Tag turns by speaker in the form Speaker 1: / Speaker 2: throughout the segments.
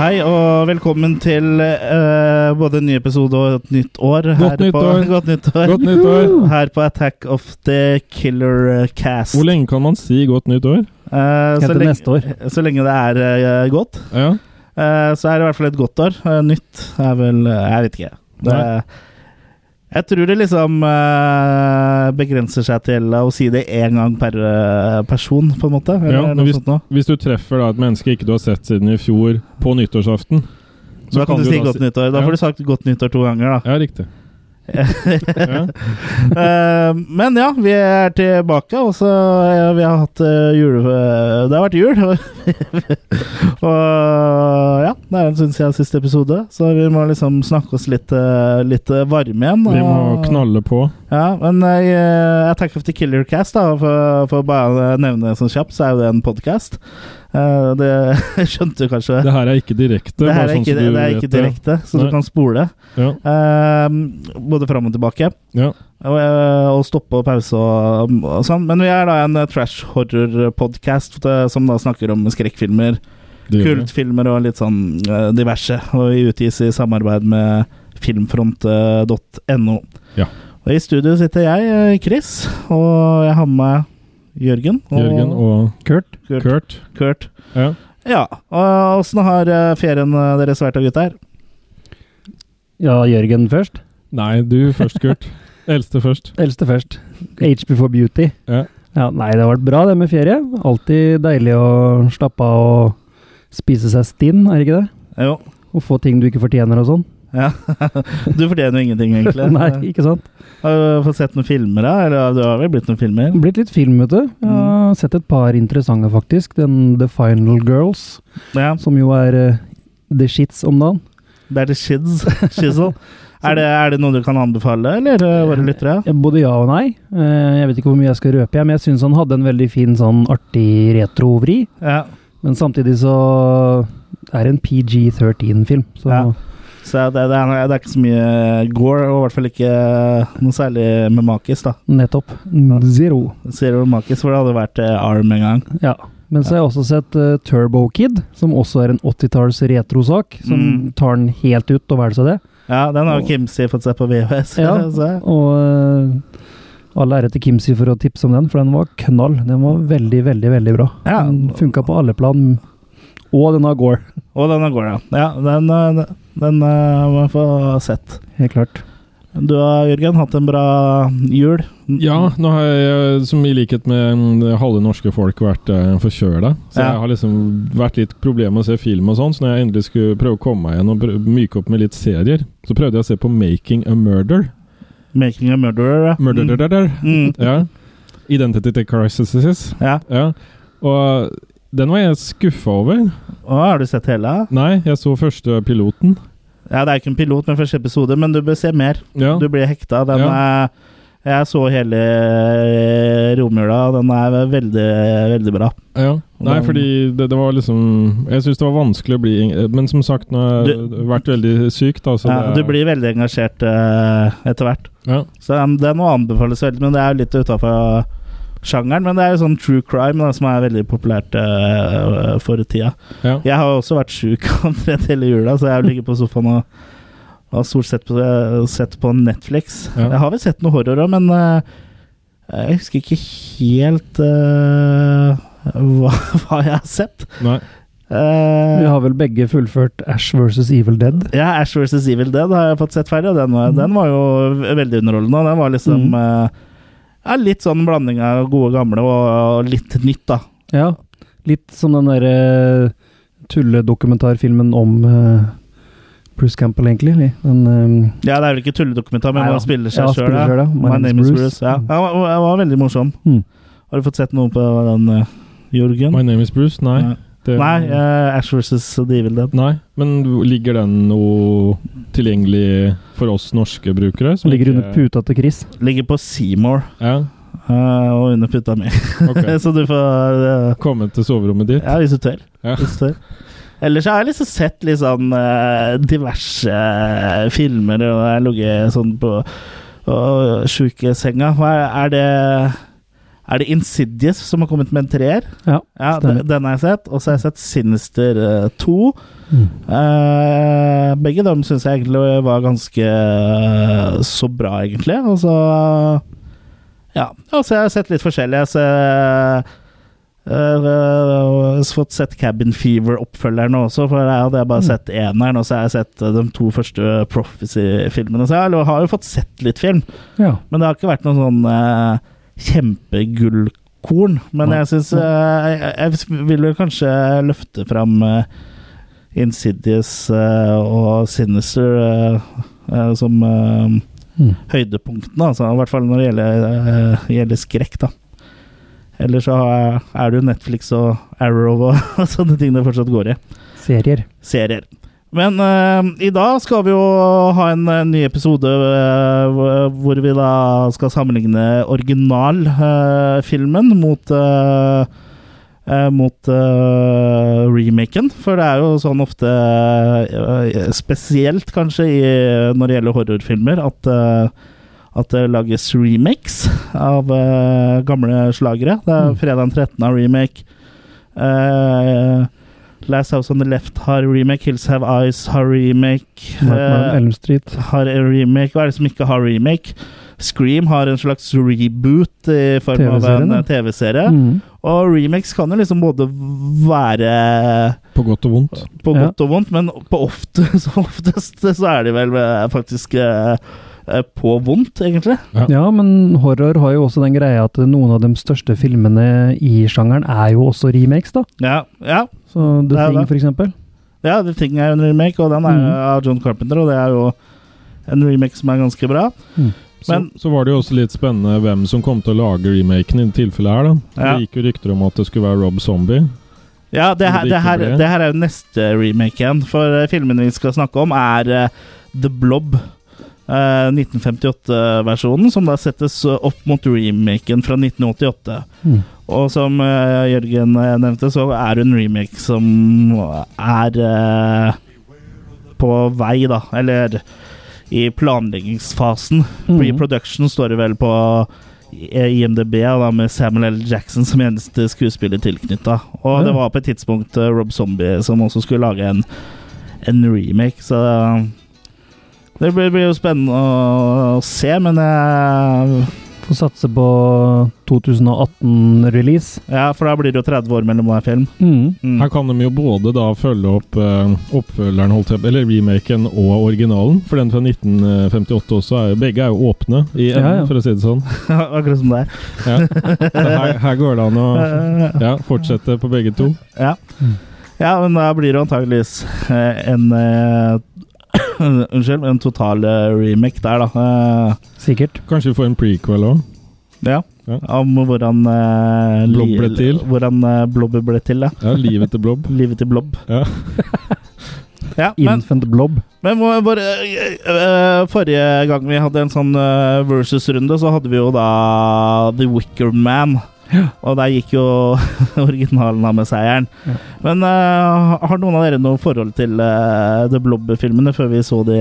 Speaker 1: Hei og velkommen til eh, både en ny episode og et nytt år her
Speaker 2: Godt nytt
Speaker 1: på,
Speaker 2: år.
Speaker 1: Godt nytt år.
Speaker 2: Godt nytt år!
Speaker 1: Her på Attack of the Killer Cast.
Speaker 2: Hvor lenge kan man si godt nytt år?
Speaker 1: Eh, så,
Speaker 3: Helt til
Speaker 1: lenge,
Speaker 3: neste år.
Speaker 1: så lenge det er eh, godt,
Speaker 2: Ja.
Speaker 1: eh, så er det i hvert fall et godt år. Eh, nytt er vel eh, Jeg vet ikke. Det,
Speaker 2: Nei.
Speaker 1: jeg tror det liksom eh, begrenser seg til å si det én gang per eh, person, på en måte. Eller
Speaker 2: Ja, men
Speaker 1: noe
Speaker 2: hvis-
Speaker 1: sånt noe.
Speaker 2: Hvis du treffer da et menneske ikke du har sett siden i fjor, på nyttårsaften
Speaker 1: Så da kan du si godt nyttår. Da
Speaker 2: Ja.
Speaker 1: får du sagt godt nyttår to ganger, da.
Speaker 2: Ja, riktig. ja.
Speaker 1: Eh, men ja, vi er tilbake, og så eh, vi har hatt eh, jule... Det har vært jul. og ja, det er en stund siden siste episode, så vi må liksom snakke oss litt, eh, litt varme igjen.
Speaker 2: Vi må
Speaker 1: og-
Speaker 2: knalle på.
Speaker 1: Ja, men uh, Attack of the Killer Cast, da, for, for å bare nevne det sånn kjapt, så er jo det en podkast. det skjønte du kanskje.
Speaker 2: Det her er ikke direkte.
Speaker 1: Det
Speaker 2: bare
Speaker 1: her er
Speaker 2: sånn
Speaker 1: ikke,
Speaker 2: som du
Speaker 1: det er
Speaker 2: vet
Speaker 1: ikke
Speaker 2: det.
Speaker 1: direkte, så du
Speaker 2: Nei.
Speaker 1: kan spole.
Speaker 2: Ja.
Speaker 1: eh, både fram og tilbake.
Speaker 2: ja.
Speaker 1: Og, eh, og stoppe og pause og, og sånn. Men vi er da en eh, trash horror-podkast som da snakker om skrekkfilmer,
Speaker 2: det gjør vi.
Speaker 1: kultfilmer og litt sånn eh, diverse. Og vi utgis i samarbeid med filmfront.no.
Speaker 2: Ja.
Speaker 1: Og i studio sitter jeg, eh, Chris, og jeg har med meg Jørgen og
Speaker 2: Jørgen og
Speaker 3: Kurt?
Speaker 1: Kurt.
Speaker 2: Kurt.
Speaker 1: Kurt.
Speaker 2: Ja.
Speaker 1: Ja. Og åssen har eh, ferien eh, deres vært, da, gutter?
Speaker 3: Ja, Jørgen først.
Speaker 2: Nei, du først, Kurt. Eldste først.
Speaker 3: Eldste først. Age before beauty.
Speaker 2: Ja.
Speaker 3: Nei, det har vært bra det med ferie. Alltid deilig å slappe av og spise seg stinn, er det ikke det?
Speaker 1: Jo.
Speaker 3: Og få ting du ikke fortjener og sånn.
Speaker 1: Ja. Du fortjener jo ingenting, egentlig.
Speaker 3: Nei, ikke sant?
Speaker 1: Har du fått sett noen filmer, da? Eller det har vel blitt noen filmer?
Speaker 3: Blitt litt film, vet du. Jeg har sett et par interessante, faktisk. Den The Final Girls,
Speaker 1: Ja.
Speaker 3: som jo er eh, the shits om dagen.
Speaker 1: Det er det shiz, shizzle. Er det, er det noe du kan anbefale, eller eh, våre lyttere?
Speaker 3: Ja, Både ja og nei. Eh, Jeg vet ikke hvor mye jeg skal røpe, jeg, men jeg syns han hadde en veldig fin, sånn artig retrovri.
Speaker 1: Ja.
Speaker 3: Men samtidig så er det en PG-13-film, så
Speaker 1: Ja. Så det, det, er, det er ikke så mye eh, gore, og i hvert fall ikke eh, noe særlig med Makis, da.
Speaker 3: nettopp. Zero.
Speaker 1: Sier du Makis, hvor det hadde vært eh, arm en gang.
Speaker 3: Ja. Men så har jeg også sett eh, Turbo Kid, som også er en 80-talls retrosak. Som
Speaker 1: Mm.
Speaker 3: tar den helt ut, og hva er det så det?
Speaker 1: Ja, den har jo Kimsi fått se på VHS.
Speaker 3: Ja.
Speaker 1: så-
Speaker 3: Og eh, all ære til Kimsi for å tipse om den, for den var knall. Den var veldig, veldig, veldig bra.
Speaker 1: Ja.
Speaker 3: Den funka på alle plan. Og den har Gore,
Speaker 1: Og denne går, ja. Ja, den, eh, den eh, må jeg få sett.
Speaker 3: helt klart.
Speaker 1: Du har, Jørgen, hatt en bra jul.
Speaker 2: Ja, nå har jeg, som i likhet med mm, det halve norske folk, vært eh, forkjøla. Så
Speaker 1: Ja.
Speaker 2: jeg har liksom vært litt problem med å se film og sånn, så når jeg endelig skulle prøve å komme meg igjen og prø- myke opp med litt serier, så prøvde jeg å se på 'Making a Murder'.
Speaker 1: 'Making a Murderer'. ja.
Speaker 2: Murder, der, der.
Speaker 1: Mm.
Speaker 2: Ja. Identity Crisis.
Speaker 1: Ja.
Speaker 2: Ja. Og den var jeg skuffa over.
Speaker 1: Å, har du sett hele?
Speaker 2: Nei, jeg så første piloten.
Speaker 1: Ja, det er ikke en pilot med første episode, men du bør se mer.
Speaker 2: Ja.
Speaker 1: Du blir hekta. Den er Jeg så hele eh, romjula, og den er veldig, veldig bra.
Speaker 2: Ja. Nei, fordi det, det var liksom Jeg syns det var vanskelig å bli Men som sagt, nå har jeg vært veldig syk, da, så
Speaker 1: Ja,
Speaker 2: det
Speaker 1: du blir veldig engasjert eh, etter hvert.
Speaker 2: ja.
Speaker 1: Så den, den må anbefales veldig, men det er jo litt utafor sjangeren. Men det er jo sånn true crime da, som er veldig populært eh, for tida.
Speaker 2: Ja.
Speaker 1: Jeg har jo også vært sjuk omtrent hele jula, så jeg har ligget på sofaen og, og stort sett på, sett på Netflix.
Speaker 2: Ja.
Speaker 1: Jeg har vel sett noe horror òg, men eh, jeg husker ikke helt eh, hva, hva jeg har sett.
Speaker 2: Nei.
Speaker 1: Eh,
Speaker 3: Vi har vel begge fullført Ash versus Evil Dead.
Speaker 1: ja, Ash vs. Evil Dead har jeg fått sett ferdig, og den var, den var jo v- veldig underholdende. og Den var liksom eh, ja, Litt sånn blanding av gode gamle og, og litt nytt, da.
Speaker 3: Ja, litt som den derre tulledokumentarfilmen om uh, Bruce Campbell, egentlig. eller? Den, eh,
Speaker 1: Ja, Det er vel ikke tulledokumentar, men
Speaker 3: Nei,
Speaker 1: man
Speaker 3: da.
Speaker 1: spiller
Speaker 3: Ja,
Speaker 1: seg sjøl.
Speaker 3: spiller selv, ja.
Speaker 1: My name is Bruce. Ja, den var, den var veldig morsom.
Speaker 3: Mm.
Speaker 1: Har du fått sett noe på den, eh, Jørgen?
Speaker 2: My name is Bruce? Nei.
Speaker 1: Nei.
Speaker 2: Det,
Speaker 1: Nei, eh, Ash vs. Evil Dead.
Speaker 2: Nei. Men ligger den noe tilgjengelig for oss norske brukere?
Speaker 3: Som ligger under puta til Chris.
Speaker 1: Ligger på Seymour
Speaker 2: Ja,
Speaker 1: eh, og under puta mi,
Speaker 2: ok.
Speaker 1: så du får eh,
Speaker 2: Komme til soverommet ditt?
Speaker 1: Ja, hvis du tør.
Speaker 2: Ja.
Speaker 1: Hvis du tør. Ellers har jeg liksom sett litt sånn eh, diverse eh, filmer, og jeg har ligget sånn på uh, sjukesenga. Hva Er, er det Er det Insidious som har kommet med en treer?
Speaker 3: Ja,
Speaker 1: Ja,
Speaker 3: Stemmer.
Speaker 1: den, den har jeg sett. Og så har jeg sett Sinister eh, 2.
Speaker 3: Mm.
Speaker 1: Eh, begge dem syns jeg egentlig var ganske eh, så bra, egentlig. Og så Ja. Og så har jeg sett litt forskjellig. Jeg har sett, eh, eh, fått sett Cabin Fever-oppfølgeren også, for jeg hadde bare
Speaker 3: Mm.
Speaker 1: sett eneren. Og så har jeg sett eh, de to første Prophecy-filmene. Så jeg har jo fått sett litt film.
Speaker 3: ja.
Speaker 1: Men det har ikke vært noen sånn eh, kjempegullkorn. Men
Speaker 3: Nei.
Speaker 1: jeg syns eh, jeg, jeg vil vel kanskje løfte fram eh, Insidious eh, og Sinister eh, eh, som eh,
Speaker 3: Mm.
Speaker 1: høydepunktene, altså, i hvert fall når det gjelder, eh, gjelder skrekk. da. Ellers så har jeg- er det jo Netflix og Arrow og, og sånne ting det fortsatt går i
Speaker 3: Serier.
Speaker 1: serier. Men eh, i dag skal vi jo ha en eh, ny episode eh, hvor- hvor vi da skal sammenligne originalfilmen mot eh, eh, mot eh, remaken, for det er jo sånn ofte, eh, spesielt kanskje i, når det gjelder horrorfilmer, at, eh, at det lages remakes av eh, gamle slagere. Det er
Speaker 3: Mm.
Speaker 1: fredag den 13. av remake. Eh, Last House on the Left har remake, Hills Have Eyes har remake
Speaker 3: Nightmare
Speaker 1: eh,
Speaker 3: on Elm Street.
Speaker 1: Har remake, hva er det som ikke har remake? Scream har en slags reboot i form av en
Speaker 3: TV-serien,
Speaker 1: eh, TV-serie.
Speaker 3: Mm.
Speaker 1: Og remakes kan jo liksom både være
Speaker 2: På godt og vondt.
Speaker 1: på
Speaker 3: Ja.
Speaker 1: godt og vondt, men på ofte, som oftest så er de vel eh, faktisk eh, eh, på vondt, egentlig.
Speaker 3: Ja, men horror har jo også den greia at noen av de største filmene i sjangeren er jo også remakes, da.
Speaker 1: Ja, ja.
Speaker 3: Så
Speaker 1: Det
Speaker 3: The
Speaker 1: er
Speaker 3: Thing,
Speaker 1: det.
Speaker 3: for eksempel.
Speaker 1: Ja, The Thing er jo en remake, og den er
Speaker 3: Mhm.
Speaker 1: av John Carpenter, og det er jo en remake som er ganske bra.
Speaker 2: Så,
Speaker 1: Men-
Speaker 2: så var det jo også litt spennende hvem som kom til å lage remaken i det tilfellet her, da.
Speaker 1: Ja.
Speaker 2: Det gikk jo rykter om at det skulle være Rob Zombie.
Speaker 1: Ja, det
Speaker 2: Om
Speaker 1: her,
Speaker 2: det
Speaker 1: det,
Speaker 2: ikke
Speaker 1: her,
Speaker 2: ble.
Speaker 1: det her er jo neste remake igjen, for eh, filmen vi skal snakke om er eh, The Blob. eh, 1958-versjonen, som da settes eh, opp mot remaken fra 1988.
Speaker 3: Mm.
Speaker 1: Og som eh, Jørgen eh, nevnte, så er det en remake som er eh, på vei, da. Eller i planleggingsfasen.
Speaker 3: Mm.
Speaker 2: Mm.
Speaker 1: Pre-production står det vel på eh, IMDb, da, med Samuel L. Jackson som eneste skuespiller tilknytta. Og
Speaker 3: Ja.
Speaker 1: det var på et tidspunkt eh, Rob Zombie som også skulle lage en, en remake, så eh, det blir, blir jo spennende å, å se, men eh, jeg
Speaker 3: Får satse på 2018-release.
Speaker 1: Ja, for da blir det jo 30 år mellom hver film.
Speaker 3: Mm.
Speaker 1: Mm.
Speaker 2: Her kan de jo både da følge opp eh, oppfølgeren, holdt jeg, eller remaken og originalen. For den fra 1958 også er jo Begge er jo åpne i enden,
Speaker 3: Ja, ja.
Speaker 2: for å si det sånn.
Speaker 1: Akkurat som det er.
Speaker 2: Ja. Så her, her går det an å ja, fortsette på begge to.
Speaker 1: Ja.
Speaker 3: Mm.
Speaker 1: ja, men da blir det antageligvis eh, en eh, Unnskyld, en total eh, remake der, da. Eh,
Speaker 3: Sikkert.
Speaker 2: Kanskje vi får en prequel òg.
Speaker 1: Ja.
Speaker 2: Ja.
Speaker 1: Om hvordan eh,
Speaker 2: Blob
Speaker 1: li-
Speaker 2: ble til.
Speaker 1: Hvordan eh, blobbet ble til, ja.
Speaker 2: Ja, livet til Blob.
Speaker 1: Livet til blob.
Speaker 2: Ja.
Speaker 1: ja, men,
Speaker 3: Infant Blob.
Speaker 1: men hvor- hvor, eh, eh, forrige gang vi hadde en sånn eh, versus-runde, så hadde vi jo da The Wicker Man. Og der gikk jo originalen av med seieren.
Speaker 3: Ja.
Speaker 1: Men eh, har noen av dere noe forhold til eh, The Blob-filmene før vi så de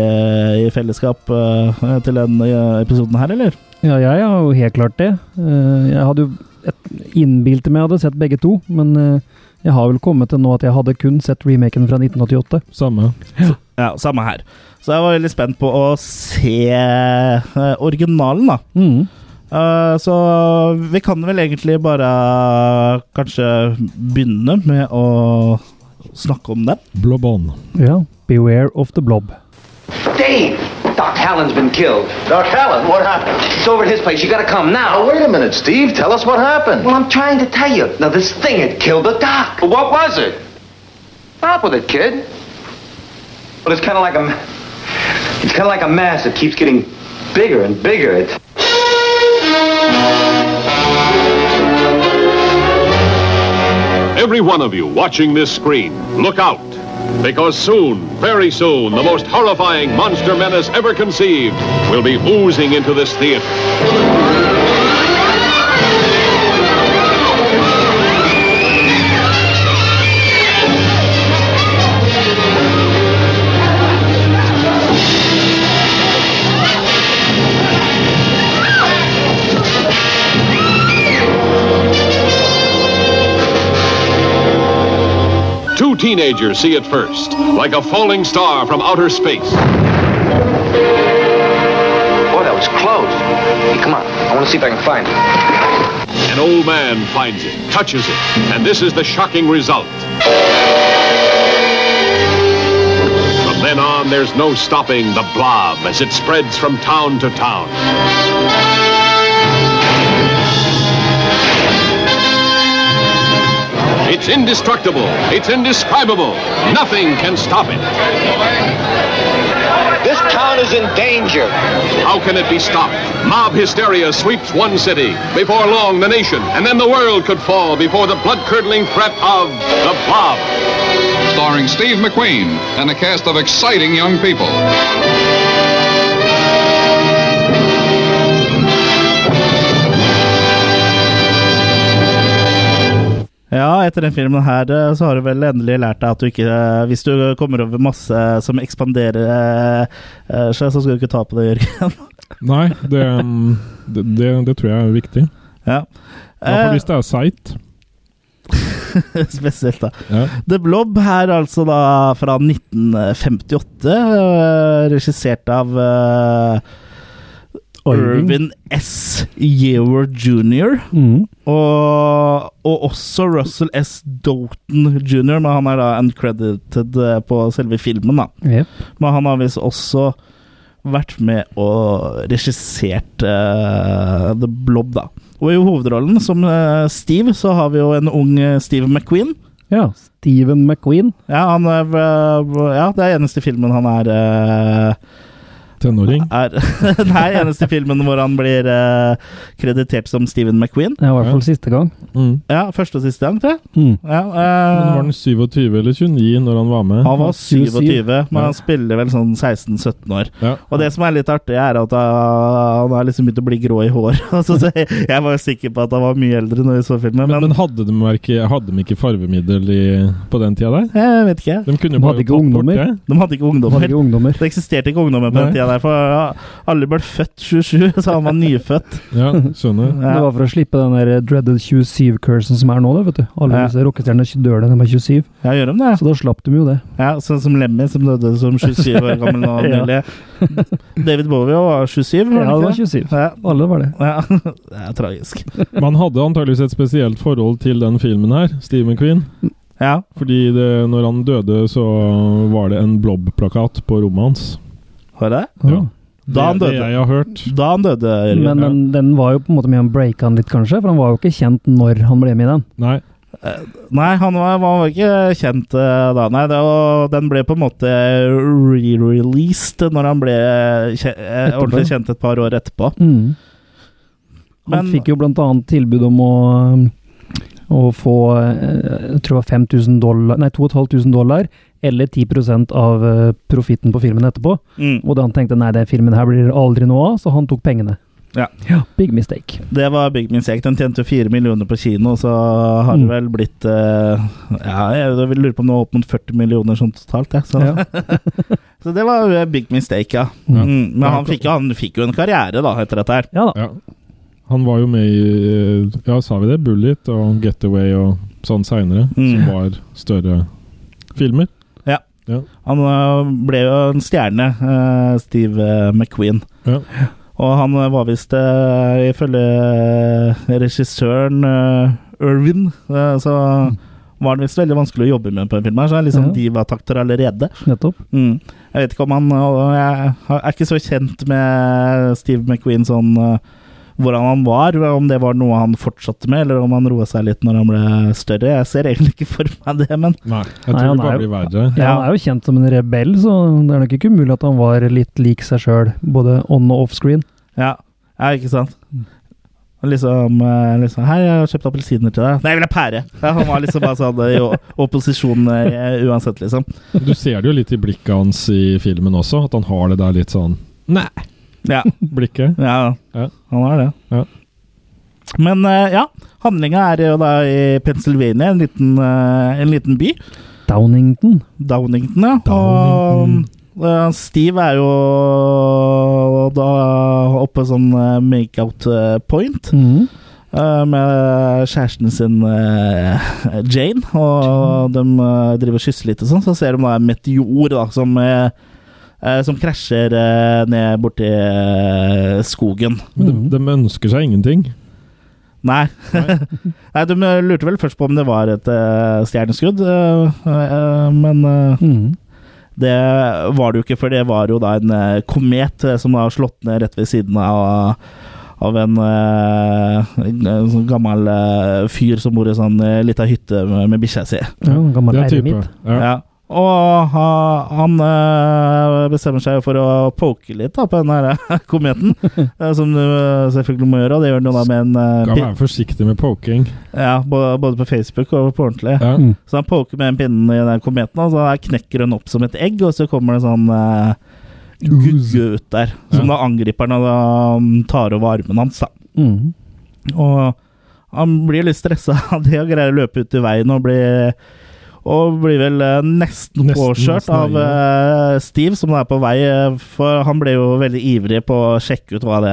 Speaker 1: i fellesskap eh, til den eh, episoden her, eller?
Speaker 3: Ja, jeg har jo helt klart det. Eh, Jeg hadde jo et- innbilt meg jeg hadde sett begge to, men eh, jeg har vel kommet til nå at jeg hadde kun sett remaken fra 1988.
Speaker 2: Samme.
Speaker 1: Ja, samme her. Så jeg var veldig spent på å se eh, originalen, da.
Speaker 3: Mm.
Speaker 1: Eh, så vi kan vel egentlig bare eh, kanskje begynne med å snakke om den.
Speaker 2: Blob on.
Speaker 3: Ja. Beware of the Blob.
Speaker 4: Dave! Doc Hallen's been killed.
Speaker 5: Doc Allen, what happened?
Speaker 4: It's over at his place. You gotta come
Speaker 5: Now,
Speaker 4: now.
Speaker 5: wait a minute, Steve. Tell us what happened.
Speaker 4: Well, I'm trying to tell you. Now, this thing had killed the doc.
Speaker 5: What was it?
Speaker 4: Stop with it, kid. Well, it's kind of like a... ma- It's kind of like a mass that keeps getting bigger and bigger. It...
Speaker 6: Every one of you watching this screen, look out. Because soon, very soon, the most horrifying monster menace ever conceived will be oozing into this theater. teenagers see it first, like a falling star from outer space.
Speaker 5: Boy, that was close. Hey, come on. I want to see if I can find it.
Speaker 6: An old man finds it, touches it, and this is the shocking result. From then on, there's no stopping the blob as it spreads from town to town. It's indestructible. It's indescribable. Nothing can stop it.
Speaker 5: This town is in danger.
Speaker 6: How can it be stopped? Mob hysteria sweeps one city, before long the nation, and then the world could fall before the blood-curdling threat of the Blob.
Speaker 7: starring Steve McQueen and a cast of exciting young people.
Speaker 1: Ja, etter den filmen her eh, så har du vel endelig lært deg at du ikke eh, Hvis du kommer over masse som ekspanderer eh, eh, seg, så skal du ikke ta på det, Jørgen.
Speaker 2: Nei, det, mm, det, det, det tror jeg er viktig.
Speaker 1: ja.
Speaker 2: I hvert fall
Speaker 1: Eh,
Speaker 2: hvis det er seigt.
Speaker 1: spesielt, da.
Speaker 2: Ja.
Speaker 1: The Blob her altså da fra 1958, øh, regissert av øh, Irvin S. Yewer jr.
Speaker 3: Mm.
Speaker 1: Og, og også Russell S. Doughton jr., men han er da uncredited øh, på selve filmen. da
Speaker 3: Jep.
Speaker 1: Men han har visst også vært med og regissert øh, The Blob, da. Og i hovedrollen som øh, Steve så har vi jo en ung øh, Steve McQueen.
Speaker 3: Ja, Steven McQueen.
Speaker 1: Ja, han er, øh, ja, det er eneste filmen han er, øh,
Speaker 2: Tenåring.
Speaker 1: er Nei, eneste filmen hvor han blir øh, kreditert som Steven McQueen.
Speaker 3: Det er i hvert fall siste gang.
Speaker 2: Mm.
Speaker 1: Ja, Første og siste gang, tror jeg.
Speaker 3: Mm.
Speaker 1: Ja,
Speaker 2: Men var
Speaker 1: øh,
Speaker 2: han 27 eller 29 når han var med?
Speaker 1: han var 27, men
Speaker 2: Ja.
Speaker 1: han spiller vel sånn 16-17 år.
Speaker 2: Ja.
Speaker 1: Og det som er litt artig, er at øh, han har liksom begynt å bli grå i håret. Altså, så jeg, jeg var jo sikker på at han var mye eldre når vi så filmen,
Speaker 2: Men,
Speaker 1: men,
Speaker 2: men hadde, de ikke, hadde de ikke farvemiddel i, på den tida der?
Speaker 1: jeg vet ikke.
Speaker 2: De kunne
Speaker 3: De
Speaker 2: jo
Speaker 3: hadde
Speaker 2: bare
Speaker 3: ikke
Speaker 2: tatt bort
Speaker 3: ungdommer.
Speaker 2: det.
Speaker 1: De hadde ikke
Speaker 3: Var
Speaker 1: ungdommer.
Speaker 3: ikke ungdommer.
Speaker 1: Det eksisterte ikke ungdommer på den
Speaker 2: Nei.
Speaker 1: tida, der, for ja, alle ble født 27, så han var nyfødt.
Speaker 2: Ja, skjønner.
Speaker 1: Ja.
Speaker 3: Det var for å slippe den der dreaded 27-cursen som er nå, det, vet du. Alle
Speaker 1: Ja.
Speaker 3: disse rockestjernene dør da de er 27,
Speaker 1: Ja, gjør de det?
Speaker 3: så da slapp de jo det.
Speaker 1: Ja, Sånn som Lemmy, som døde som 27 år gammel nå
Speaker 3: Ja.
Speaker 1: nylig. David Bowie var 27,
Speaker 3: Ja,
Speaker 1: var
Speaker 3: det
Speaker 1: han
Speaker 3: var
Speaker 1: ikke?
Speaker 3: 27.
Speaker 1: Ja.
Speaker 3: Alle var det.
Speaker 1: Ja, det er tragisk.
Speaker 2: Man hadde antageligvis et spesielt forhold til den filmen her, Steve McQueen.
Speaker 1: Ja,
Speaker 2: Fordi det, når han døde, så var det en blob-plakat på rommet hans.
Speaker 1: var det?
Speaker 2: Ja.
Speaker 1: Da han
Speaker 2: Det,
Speaker 1: døde.
Speaker 2: det jeg har hørt.
Speaker 1: Da han døde, Jørgen.
Speaker 3: Men den, den var jo på en måte med å breake han litt, kanskje, for han var jo ikke kjent når han ble med i den.
Speaker 2: Nei.
Speaker 1: Eh, Nei, han var, han var ikke kjent eh, da. Nei, det, og den ble på en måte re-released når han ble kje, eh,
Speaker 3: Etterpå.
Speaker 1: ordentlig kjent et par år etterpå.
Speaker 3: Mm. Han
Speaker 1: Men-
Speaker 3: fikk jo blant annet tilbud om å, å få eh, jeg tror det var 5000 dollar, nei 2500 dollar, eller 10 av eh, profitten på filmen etterpå.
Speaker 1: Mm.
Speaker 3: Og da han tenkte nei, den filmen her blir det aldri noe av, så han tok pengene.
Speaker 1: Ja.
Speaker 3: Big mistake.
Speaker 1: Det var Big Min Sek. Den tjente jo fire millioner på kino, så har
Speaker 3: Mm.
Speaker 1: det vel blitt eh, Ja, jeg vil lure på om det var opp mot 40 millioner sånn totalt, jeg. Så.
Speaker 3: Ja.
Speaker 1: Så det var jo eh, big mistake, ja.
Speaker 3: Ja.
Speaker 1: Mm, men han fikk, jo, han fikk jo en karriere da, etter dette her.
Speaker 3: ja da.
Speaker 2: Ja. Han var jo med i eh, Ja, sa vi det? Bullet og Getaway og sånn seinere,
Speaker 1: Mm.
Speaker 2: som var større filmer.
Speaker 1: Han øh, ble jo en stjerne, øh, Steve øh, McQueen.
Speaker 2: Ja.
Speaker 1: Og han øh, var visst, øh, ifølge øh, regissøren øh, Irvin, øh, så var det visst veldig vanskelig å jobbe med på en film her, så er det liksom
Speaker 3: Ja.
Speaker 1: divatakter allerede.
Speaker 3: Nettopp.
Speaker 1: Mm. Jeg vet ikke om han øh, Jeg er ikke så kjent med Steve McQueen sånn øh, hvordan han var, om det var noe han fortsatte med, eller om han roa seg litt når han ble større. Jeg ser egentlig ikke for meg det, men
Speaker 2: Nei, jeg
Speaker 3: Nei,
Speaker 2: tror
Speaker 3: han
Speaker 2: det
Speaker 3: er
Speaker 2: bare
Speaker 3: jo-
Speaker 2: blir verre.
Speaker 3: Ja, han er jo kjent som en rebell, så det er nok ikke umulig at han var litt lik seg sjøl, både on og off screen.
Speaker 1: Ja, ja ikke sant? Og Liksom, eh, liksom 'Hei, jeg har kjøpt appelsiner til deg.' 'Nei, jeg vil ha pære!' Ja, han var liksom bare sånn i o- opposisjon eh, uansett, liksom.
Speaker 2: Du ser det jo litt i blikket hans i filmen også, at han har det der litt sånn Nei!
Speaker 1: Ja,
Speaker 2: Blikket.
Speaker 1: ja
Speaker 2: Ja.
Speaker 1: han har det.
Speaker 2: Ja.
Speaker 1: Men eh, ja, handlinga er jo da i Pennsylvania, en liten, eh, en liten by.
Speaker 3: Downington.
Speaker 1: Downington, ja.
Speaker 2: Downington.
Speaker 1: Og eh, Steve er jo da oppe sånn eh, make-out eh, point.
Speaker 3: Mm.
Speaker 1: eh, med kjæresten sin eh, Jane, og de eh, driver og kysser litt og sånn. Så ser de da en meteor da, som, eh, eh, som krasjer eh, ned borti eh, skogen.
Speaker 2: Men
Speaker 3: Mm.
Speaker 2: de, de ønsker seg ingenting.
Speaker 1: Nei. Nei, de lurte vel først på om det var et eh, stjerneskudd, eh, eh, men eh,
Speaker 3: Mm.
Speaker 1: det var det jo ikke, for det var jo da en eh, komet eh, som har slått ned rett ved siden av, av en, eh, en, en sånn gammel eh, fyr som bor i sånn eh, lita hytte med, med bikkja si.
Speaker 3: Ja, en gammel
Speaker 2: Det er type.
Speaker 3: eremitt.
Speaker 2: Ja.
Speaker 1: Ja. Og ha- han eh, bestemmer seg for å poke litt da, på den her kometen, eh, som du eh, selvfølgelig må gjøre. Og det gjør han jo da med en eh,
Speaker 2: Skal
Speaker 1: pin-
Speaker 2: være forsiktig med poking.
Speaker 1: ja, både, både på Facebook og på ordentlig.
Speaker 2: Ja.
Speaker 3: Mm.
Speaker 1: Så han poker med en pinne i den kometen, og så der knekker den opp som et egg, og så kommer det en sånn eh, gugge ut der, som da angriper han og da mm, tar over armen hans. da.
Speaker 3: Mm.
Speaker 1: Og han blir litt stressa av det og greier å løpe ut i veien og blir og blir vel eh, nesten,
Speaker 2: Nesten,
Speaker 1: påkjørt
Speaker 2: nesten,
Speaker 1: av eh, Steve, som er på vei. eh, For han ble jo veldig ivrig på å sjekke ut hva det,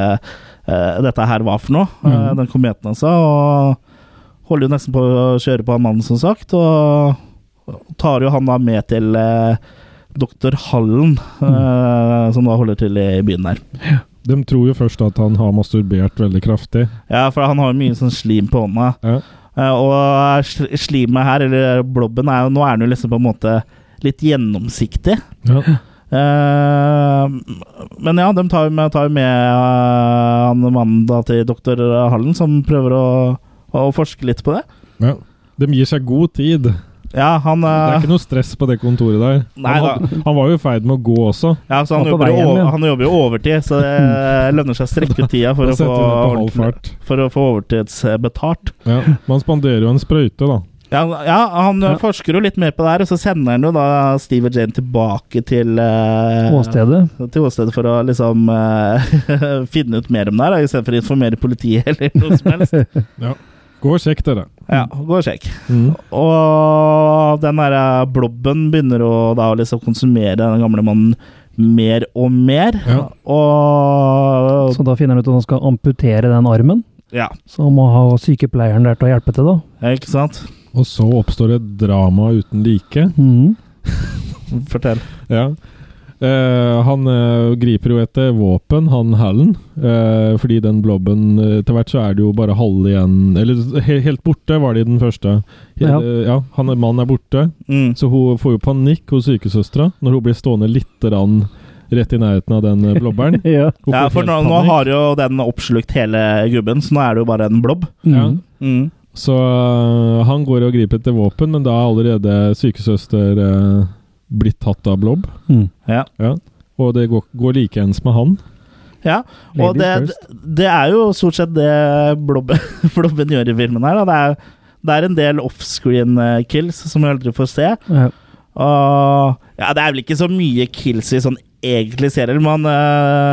Speaker 1: eh, dette her var for noe, eh, den kometen altså. Og holder jo nesten på å kjøre på han mannen, som sagt. Og tar jo han da med til eh, doktor Hallen, eh, som da holder til i byen der.
Speaker 2: De tror jo først at han har masturbert veldig kraftig.
Speaker 1: Ja, for han har jo mye sånn slim på hånda.
Speaker 2: Ja.
Speaker 1: Eh, Og sl- slimet her, eller blobben, er jo Nå er den jo liksom på en måte litt gjennomsiktig.
Speaker 2: Ja.
Speaker 1: Eh, men ja, de tar jo med, tar jo med eh, han mannen da til doktor Hallen, som prøver å, å forske litt på det.
Speaker 2: Ja. De gir seg god tid.
Speaker 1: Ja, han,
Speaker 2: Det er
Speaker 1: eh,
Speaker 2: ikke noe stress på det kontoret der.
Speaker 1: Nei
Speaker 2: han, hadde- han var jo i ferd med å gå også.
Speaker 1: ja, så han,
Speaker 3: Han er på
Speaker 1: jobber
Speaker 3: vei
Speaker 1: jo,
Speaker 3: hjem,
Speaker 1: over-
Speaker 3: ja.
Speaker 1: han jobber jo overtid, så det eh, lønner seg å strekke ut tida for,
Speaker 2: Da
Speaker 1: å få
Speaker 2: setter han på halv
Speaker 1: ordentlig-
Speaker 2: fart.
Speaker 1: for å få overtidsbetalt.
Speaker 2: Ja. Man spanderer jo en sprøyte, da.
Speaker 1: Ja, ja han forsker jo litt mer på det her, og så sender han jo da Steve og Jane tilbake til eh,
Speaker 3: Åstedet.
Speaker 1: Til åstedet for å liksom eh, finne ut mer om det her, da, i stedet for å informere politiet eller noe som helst.
Speaker 2: Ja. Gå og sjekk, dere.
Speaker 1: Ja, gå og sjekk.
Speaker 2: Mm.
Speaker 1: Og den der eh, blobben begynner å da å liksom konsumere den gamle mannen mer og mer.
Speaker 2: Ja. Sånn.
Speaker 1: Og
Speaker 3: Så da finner han ut at han skal amputere den armen.
Speaker 1: Ja,
Speaker 3: Så må ha sykepleieren der til å hjelpe til, da.
Speaker 1: ikke sant?
Speaker 2: Og så oppstår et drama uten like.
Speaker 3: Mm.
Speaker 1: Fortell.
Speaker 2: Ja. Eh, han eh, griper jo etter våpen, han Hallen. Eh, fordi den blobben eh, Til hvert så er det jo bare halve igjen Eller he helt borte var de i den første. He
Speaker 3: Ja.
Speaker 2: eh, ja, han er- Mannen er borte,
Speaker 1: Mm.
Speaker 2: så hun får jo panikk hos sykesøstera når hun blir stående lite grann rett i nærheten av den eh, blobberen.
Speaker 3: Ja.
Speaker 2: Hun
Speaker 1: Ja,
Speaker 2: får
Speaker 1: for
Speaker 2: helt
Speaker 1: nå, nå
Speaker 2: panikk.
Speaker 1: har jo den oppslukt hele gubben, så nå er det jo bare en blobb.
Speaker 2: Ja.
Speaker 3: Mm.
Speaker 1: Mm.
Speaker 2: Så øh, han går og griper etter våpen, men da er allerede sykesøster øh, blitt tatt av blobb.
Speaker 3: Mm.
Speaker 1: Ja.
Speaker 2: Ja. Og det går, går likeens med han.
Speaker 1: ja. Og
Speaker 3: Ladies
Speaker 1: det, det er jo stort sett det blobben, blobben gjør i filmen her. Da. Det, er, det er en del offscreen eh, kills som vi aldri får se.
Speaker 3: Ja.
Speaker 1: Og ja, det er vel ikke så mye kills i sånn egentlig serier, men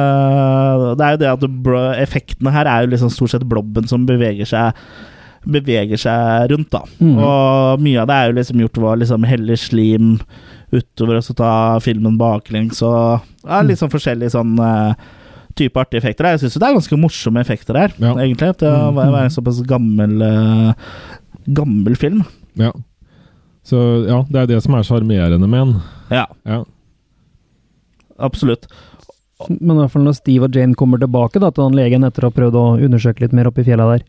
Speaker 1: eh, det er jo det at bro- effektene her er jo liksom stort sett blobben som beveger seg beveger seg rundt, da.
Speaker 3: Mhm.
Speaker 1: Og mye av det er jo liksom gjort ved å liksom helle slim utover og så ta filmen baklengs og ja, litt sånn forskjellige sånn eh, type artige effekter. Jeg syns jo det er ganske morsomme effekter her,
Speaker 2: Ja.
Speaker 1: egentlig. Til å være være en såpass gammel eh, gammel film.
Speaker 2: Ja. Så ja, det er det som er sjarmerende med han.
Speaker 1: Ja,
Speaker 2: Ja.
Speaker 1: absolutt.
Speaker 3: Men i hvert fall når Steve og Jane kommer tilbake da, til han legen etter å ha prøvd å undersøke litt mer oppi fjella der,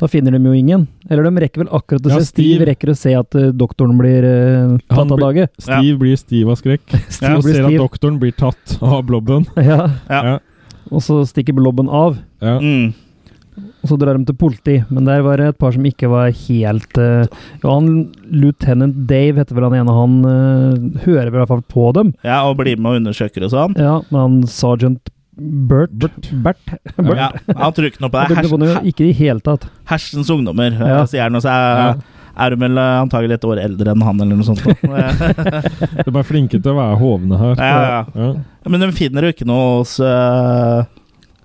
Speaker 3: da finner de jo ingen. Eller de rekker vel akkurat å
Speaker 2: Ja,
Speaker 3: se Steve,
Speaker 2: Steve.
Speaker 3: rekker å se at eh, doktoren blir eh,
Speaker 2: Han
Speaker 3: tatt av
Speaker 2: blir-
Speaker 3: dage.
Speaker 2: Stiv blir stiv av skrekk.
Speaker 3: Steve
Speaker 2: og
Speaker 3: blir
Speaker 2: ser at
Speaker 3: stiv.
Speaker 2: doktoren blir tatt av blobben.
Speaker 3: Ja.
Speaker 1: Ja.
Speaker 2: Ja.
Speaker 3: Og så stikker blobben av,
Speaker 2: Ja.
Speaker 1: Mm.
Speaker 3: og så drar de til politi. Men der var det et par som ikke var helt eh, Ja, han Lieutenant Dave heter vel han ene, han eh, hører vel i hvert fall på dem.
Speaker 1: Ja, og bli med og undersøker og sånn.
Speaker 3: Ja, men han sergeant Bert Bert. Bert.
Speaker 1: Ja, han tror ikke noe på
Speaker 3: Jeg
Speaker 1: det.
Speaker 3: tenkte på det,
Speaker 1: Hers,
Speaker 3: ikke i det hele tatt.
Speaker 1: hersens ungdommer, eh,
Speaker 3: Ja.
Speaker 1: sier han. Og så er, er hun vel eh, antagelig et år eldre enn han, eller noe sånt. da.
Speaker 2: De er flinke til å være hovne her.
Speaker 1: Ja,
Speaker 2: ja.
Speaker 1: Eh, Men de finner jo ikke noe hos eh,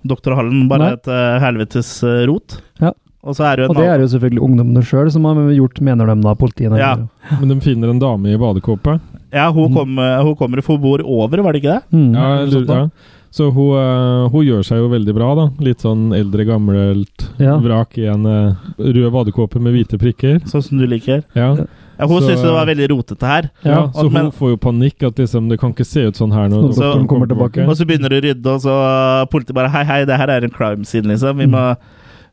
Speaker 1: doktor Hallen, bare
Speaker 3: Nei.
Speaker 1: et eh, helvetes eh, rot.
Speaker 3: Ja.
Speaker 1: Og så er det jo
Speaker 3: Og
Speaker 1: en
Speaker 3: det er
Speaker 1: nabo.
Speaker 3: jo selvfølgelig ungdommene sjøl som har gjort, mener de da, politiet.
Speaker 1: Ja.
Speaker 2: Men de finner en dame i badekåpe.
Speaker 1: Ja, hun, kom, eh, hun kommer og får bord over, var det ikke det?
Speaker 3: Mm.
Speaker 2: Ja, jeg
Speaker 3: Sånn
Speaker 2: lurer,
Speaker 3: da.
Speaker 2: ja. Så hun, eh, hun gjør seg jo veldig bra, da. Litt sånn eldre, gammelt
Speaker 3: Ja.
Speaker 2: vrak i en eh, rød badekåpe med hvite prikker.
Speaker 1: Sånn som du liker.
Speaker 2: Ja.
Speaker 1: Ja, hun
Speaker 2: Så-
Speaker 1: syntes det var veldig rotete her.
Speaker 2: Ja,
Speaker 1: og-
Speaker 2: så hun
Speaker 1: men-
Speaker 2: får jo panikk. At liksom, det kan ikke se ut sånn her når
Speaker 3: Når doktoren kommer tilbake.
Speaker 1: Og så begynner du å rydde, og så eh, politiet bare Hei, hei, det her er en crime scene, liksom. Vi må,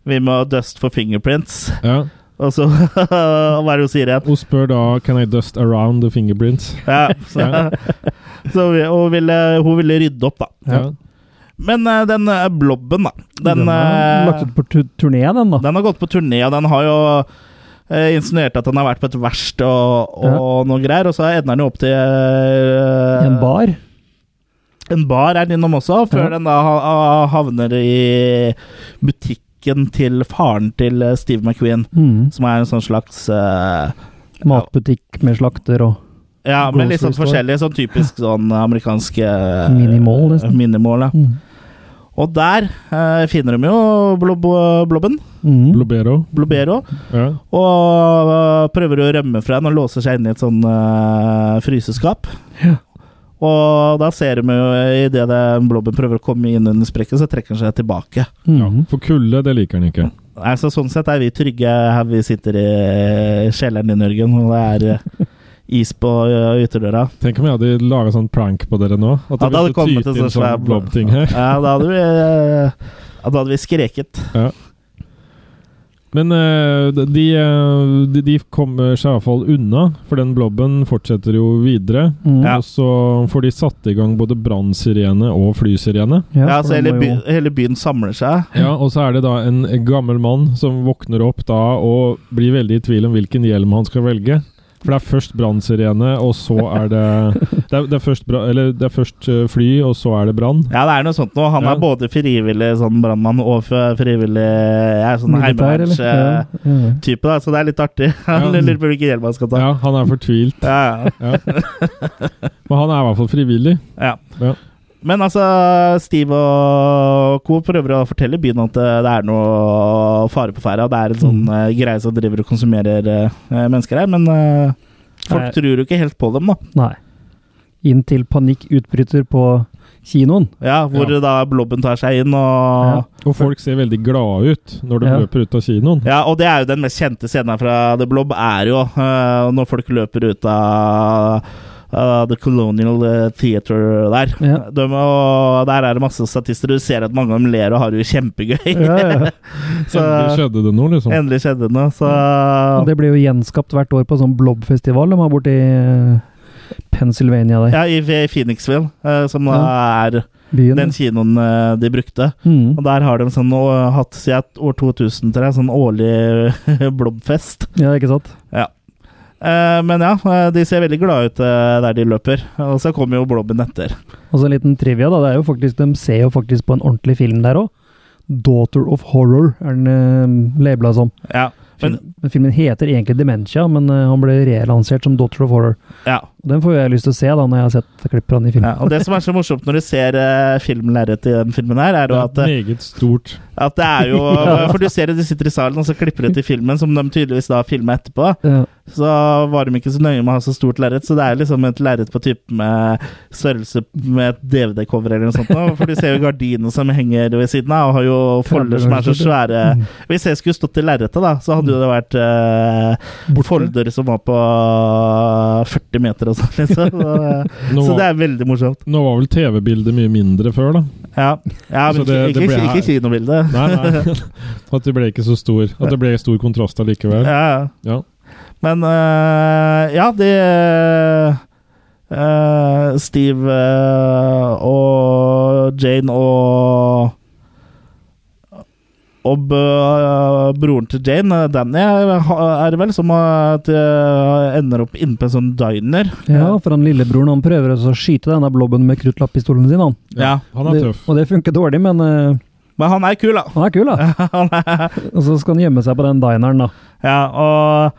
Speaker 1: vi må dust for fingerprints.
Speaker 2: Ja.
Speaker 1: Og så Hva er det hun sier igjen?
Speaker 2: Hun spør da Can I dust around the fingerprints?
Speaker 1: Ja, så, så vi, hun, ville, hun ville rydde opp, da.
Speaker 2: Ja.
Speaker 1: Men eh, den eh, blobben, da. Den,
Speaker 3: Den er
Speaker 1: eh,
Speaker 3: lagt ut på tu- turné, den, da.
Speaker 1: den har gått på turné, og den har jo eh, insinuert at han har vært på et verksted og, og noe greier, og så ender han jo opp til eh,
Speaker 3: I en bar.
Speaker 1: En bar er den innom også, før
Speaker 3: Ja.
Speaker 1: den da ha- ha- havner i butikken til faren til eh, Steve McQueen,
Speaker 3: Mm.
Speaker 1: som er en sånn slags eh,
Speaker 3: Matbutikk med slakter og
Speaker 1: Ja, men litt
Speaker 3: Grocery
Speaker 1: sånn
Speaker 3: store.
Speaker 1: forskjellig. Sånn typisk sånn amerikansk eh,
Speaker 3: Minimal, nesten.
Speaker 1: minimal, ja.
Speaker 3: Mm.
Speaker 1: Og der eh, finner de jo blob blobben,
Speaker 3: Mm.
Speaker 2: Blobero.
Speaker 1: Blobero,
Speaker 2: Ja.
Speaker 1: og eh, prøver å rømme fra den og låser seg inn i et sånn eh, fryseskap. Og da ser de jo eh, idet blobben prøver å komme inn under sprekken, så trekker den seg tilbake.
Speaker 2: Ja.
Speaker 3: Mm.
Speaker 2: For kulde, det liker han ikke.
Speaker 1: Altså, sånn sett er vi trygge her vi sitter i kjelleren din, Jørgen, og det er eh, is på eh, ø, ytterdøra.
Speaker 2: Tenk om jeg hadde laga sånn prank på dere nå. At
Speaker 1: Ja, det hadde
Speaker 2: ville
Speaker 1: kommet
Speaker 2: tyte
Speaker 1: en
Speaker 2: inn
Speaker 1: sånn svær blob.
Speaker 2: blobting her.
Speaker 1: Ja, da hadde vi, eh, ja, da hadde vi skreket.
Speaker 2: Men eh, de, eh, de, de kommer seg iallfall unna, for den blobben fortsetter jo videre.
Speaker 3: Mm.
Speaker 1: Ja.
Speaker 2: Og så får de satt i gang både brannsirene og flysirene.
Speaker 1: Ja,
Speaker 3: for
Speaker 1: så
Speaker 3: den
Speaker 1: hele,
Speaker 3: må
Speaker 1: by,
Speaker 3: jo-
Speaker 1: hele byen samler seg.
Speaker 2: Ja, og så er det da en gammel mann som våkner opp da og blir veldig i tvil om hvilken hjelm han skal velge. For det er først brannsirene, og så er det Det er, det er, først, bra, eller det er først eh, fly, og så er det brann.
Speaker 1: Ja, det er noe sånt nå. Han
Speaker 2: Ja.
Speaker 1: er både frivillig sånn brannmann og f- frivillig ja, sånn
Speaker 3: Militær, eller? Ja,
Speaker 1: heimevernstype,
Speaker 3: ja, ja.
Speaker 1: da, så det er litt artig. Han
Speaker 2: Ja.
Speaker 1: lurer på hvilken hjelm han skal ta.
Speaker 2: Ja, han er fortvilt.
Speaker 1: Ja, ja.
Speaker 2: Ja. Men han er i hvert fall frivillig.
Speaker 1: Ja.
Speaker 2: Ja.
Speaker 1: Men altså, Steve og co. prøver å fortelle byen at eh, det er noe fare på ferde. og Det er en sånn eh, greie som driver og konsumerer eh, mennesker her, men eh, folk
Speaker 3: Nei.
Speaker 1: tror jo ikke helt på dem, da.
Speaker 3: Nei. Inntil panikk utbryter på kinoen.
Speaker 1: Ja, Hvor da blobben tar seg inn og
Speaker 2: Og folk ser veldig glade ut når de
Speaker 3: Ja.
Speaker 2: løper ut av kinoen.
Speaker 1: Ja, og det er jo den mest kjente scenen her fra The Blob, er jo eh, når folk løper ut av eh, The Colonial eh, Theater der.
Speaker 3: Ja.
Speaker 1: De, og der er det masse statister. Du ser at mange av dem ler og har det jo kjempegøy.
Speaker 3: Ja, ja. ja.
Speaker 1: Så-
Speaker 2: Endelig skjedde det noe, liksom.
Speaker 1: Endelig skjedde det noe, så
Speaker 3: Og det blir jo gjenskapt hvert år på sånn blobfestival de har borti eh, Pennsylvania der.
Speaker 1: Ja, i i Phoenixville, eh, som da er
Speaker 3: Byen.
Speaker 1: den kinoen eh, de brukte.
Speaker 3: Mm.
Speaker 1: Og der har de sånn, å- hatt siden år 2000 tror jeg, sånn årlig blobfest.
Speaker 3: Ja, ikke sant?
Speaker 1: Eh, Men ja, eh, de ser veldig glade ut eh, der de løper. Og så kommer jo blobben etter.
Speaker 3: Og så en liten trivia, da. Det er jo faktisk, de ser jo faktisk på en ordentlig film der òg. 'Daughter of Horror' er den uh, labela som.
Speaker 1: Ja, men,
Speaker 3: Film, men, filmen heter egentlig 'Dementia', men eh, han ble relansert som 'Daughter of Horror'.
Speaker 1: ja,
Speaker 3: Og Den får jo jeg lyst til å se da, når jeg har sett klipp fra den i
Speaker 1: ja.
Speaker 3: filmen.
Speaker 1: Og det som er så morsomt når du ser eh, filmlerret i den filmen her, er
Speaker 2: Det
Speaker 1: jo
Speaker 2: er
Speaker 1: at, eh,
Speaker 2: meget stort.
Speaker 1: at det er jo
Speaker 3: Ja.
Speaker 1: For du ser det, de sitter i salen, og så klipper de til filmen, som de tydeligvis da filma etterpå.
Speaker 3: Ja.
Speaker 1: Så var de ikke så nøye med å ha så stort lerret, så det er liksom et lerret på type med størrelse med et DVD-cover eller noe sånt. nå, For du ser jo gardinene som henger ved siden av, og har jo folder som er så svære. Hvis jeg skulle stått i lerretet, da, så hadde jo det vært eh, folder som var på 40 meter og sånn, liksom. Så,
Speaker 2: Nå,
Speaker 1: så det er veldig morsomt.
Speaker 2: nå var vel TV-bildet mye mindre før, da.
Speaker 1: Ja, ja men
Speaker 2: Så det-
Speaker 1: ikke,
Speaker 2: det
Speaker 1: ikke,
Speaker 2: ble-
Speaker 1: ikke kinobildet.
Speaker 2: Nei, nei. At det ble ikke så stor. At det ble stor kontrast allikevel.
Speaker 1: Ja, ja.
Speaker 2: Ja.
Speaker 1: Men øh, ja, det øh, Steve øh, og Jane og og b- øh, broren til Jane, øh, Danny, er ha- er det vel, som øh, at, øh, ender opp inne på en sånn diner.
Speaker 3: ja, for han lillebroren han prøver altså å skyte denne blobben med kruttlapppistolen sin. han.
Speaker 1: Eh, Ja.
Speaker 2: Han er
Speaker 3: Det-
Speaker 2: tøff.
Speaker 3: Og det funker dårlig, men eh,
Speaker 1: Men han er kul, da.
Speaker 3: han er kul, da.
Speaker 1: Han er,
Speaker 3: Og så skal han gjemme seg på den dineren, da.
Speaker 1: ja, og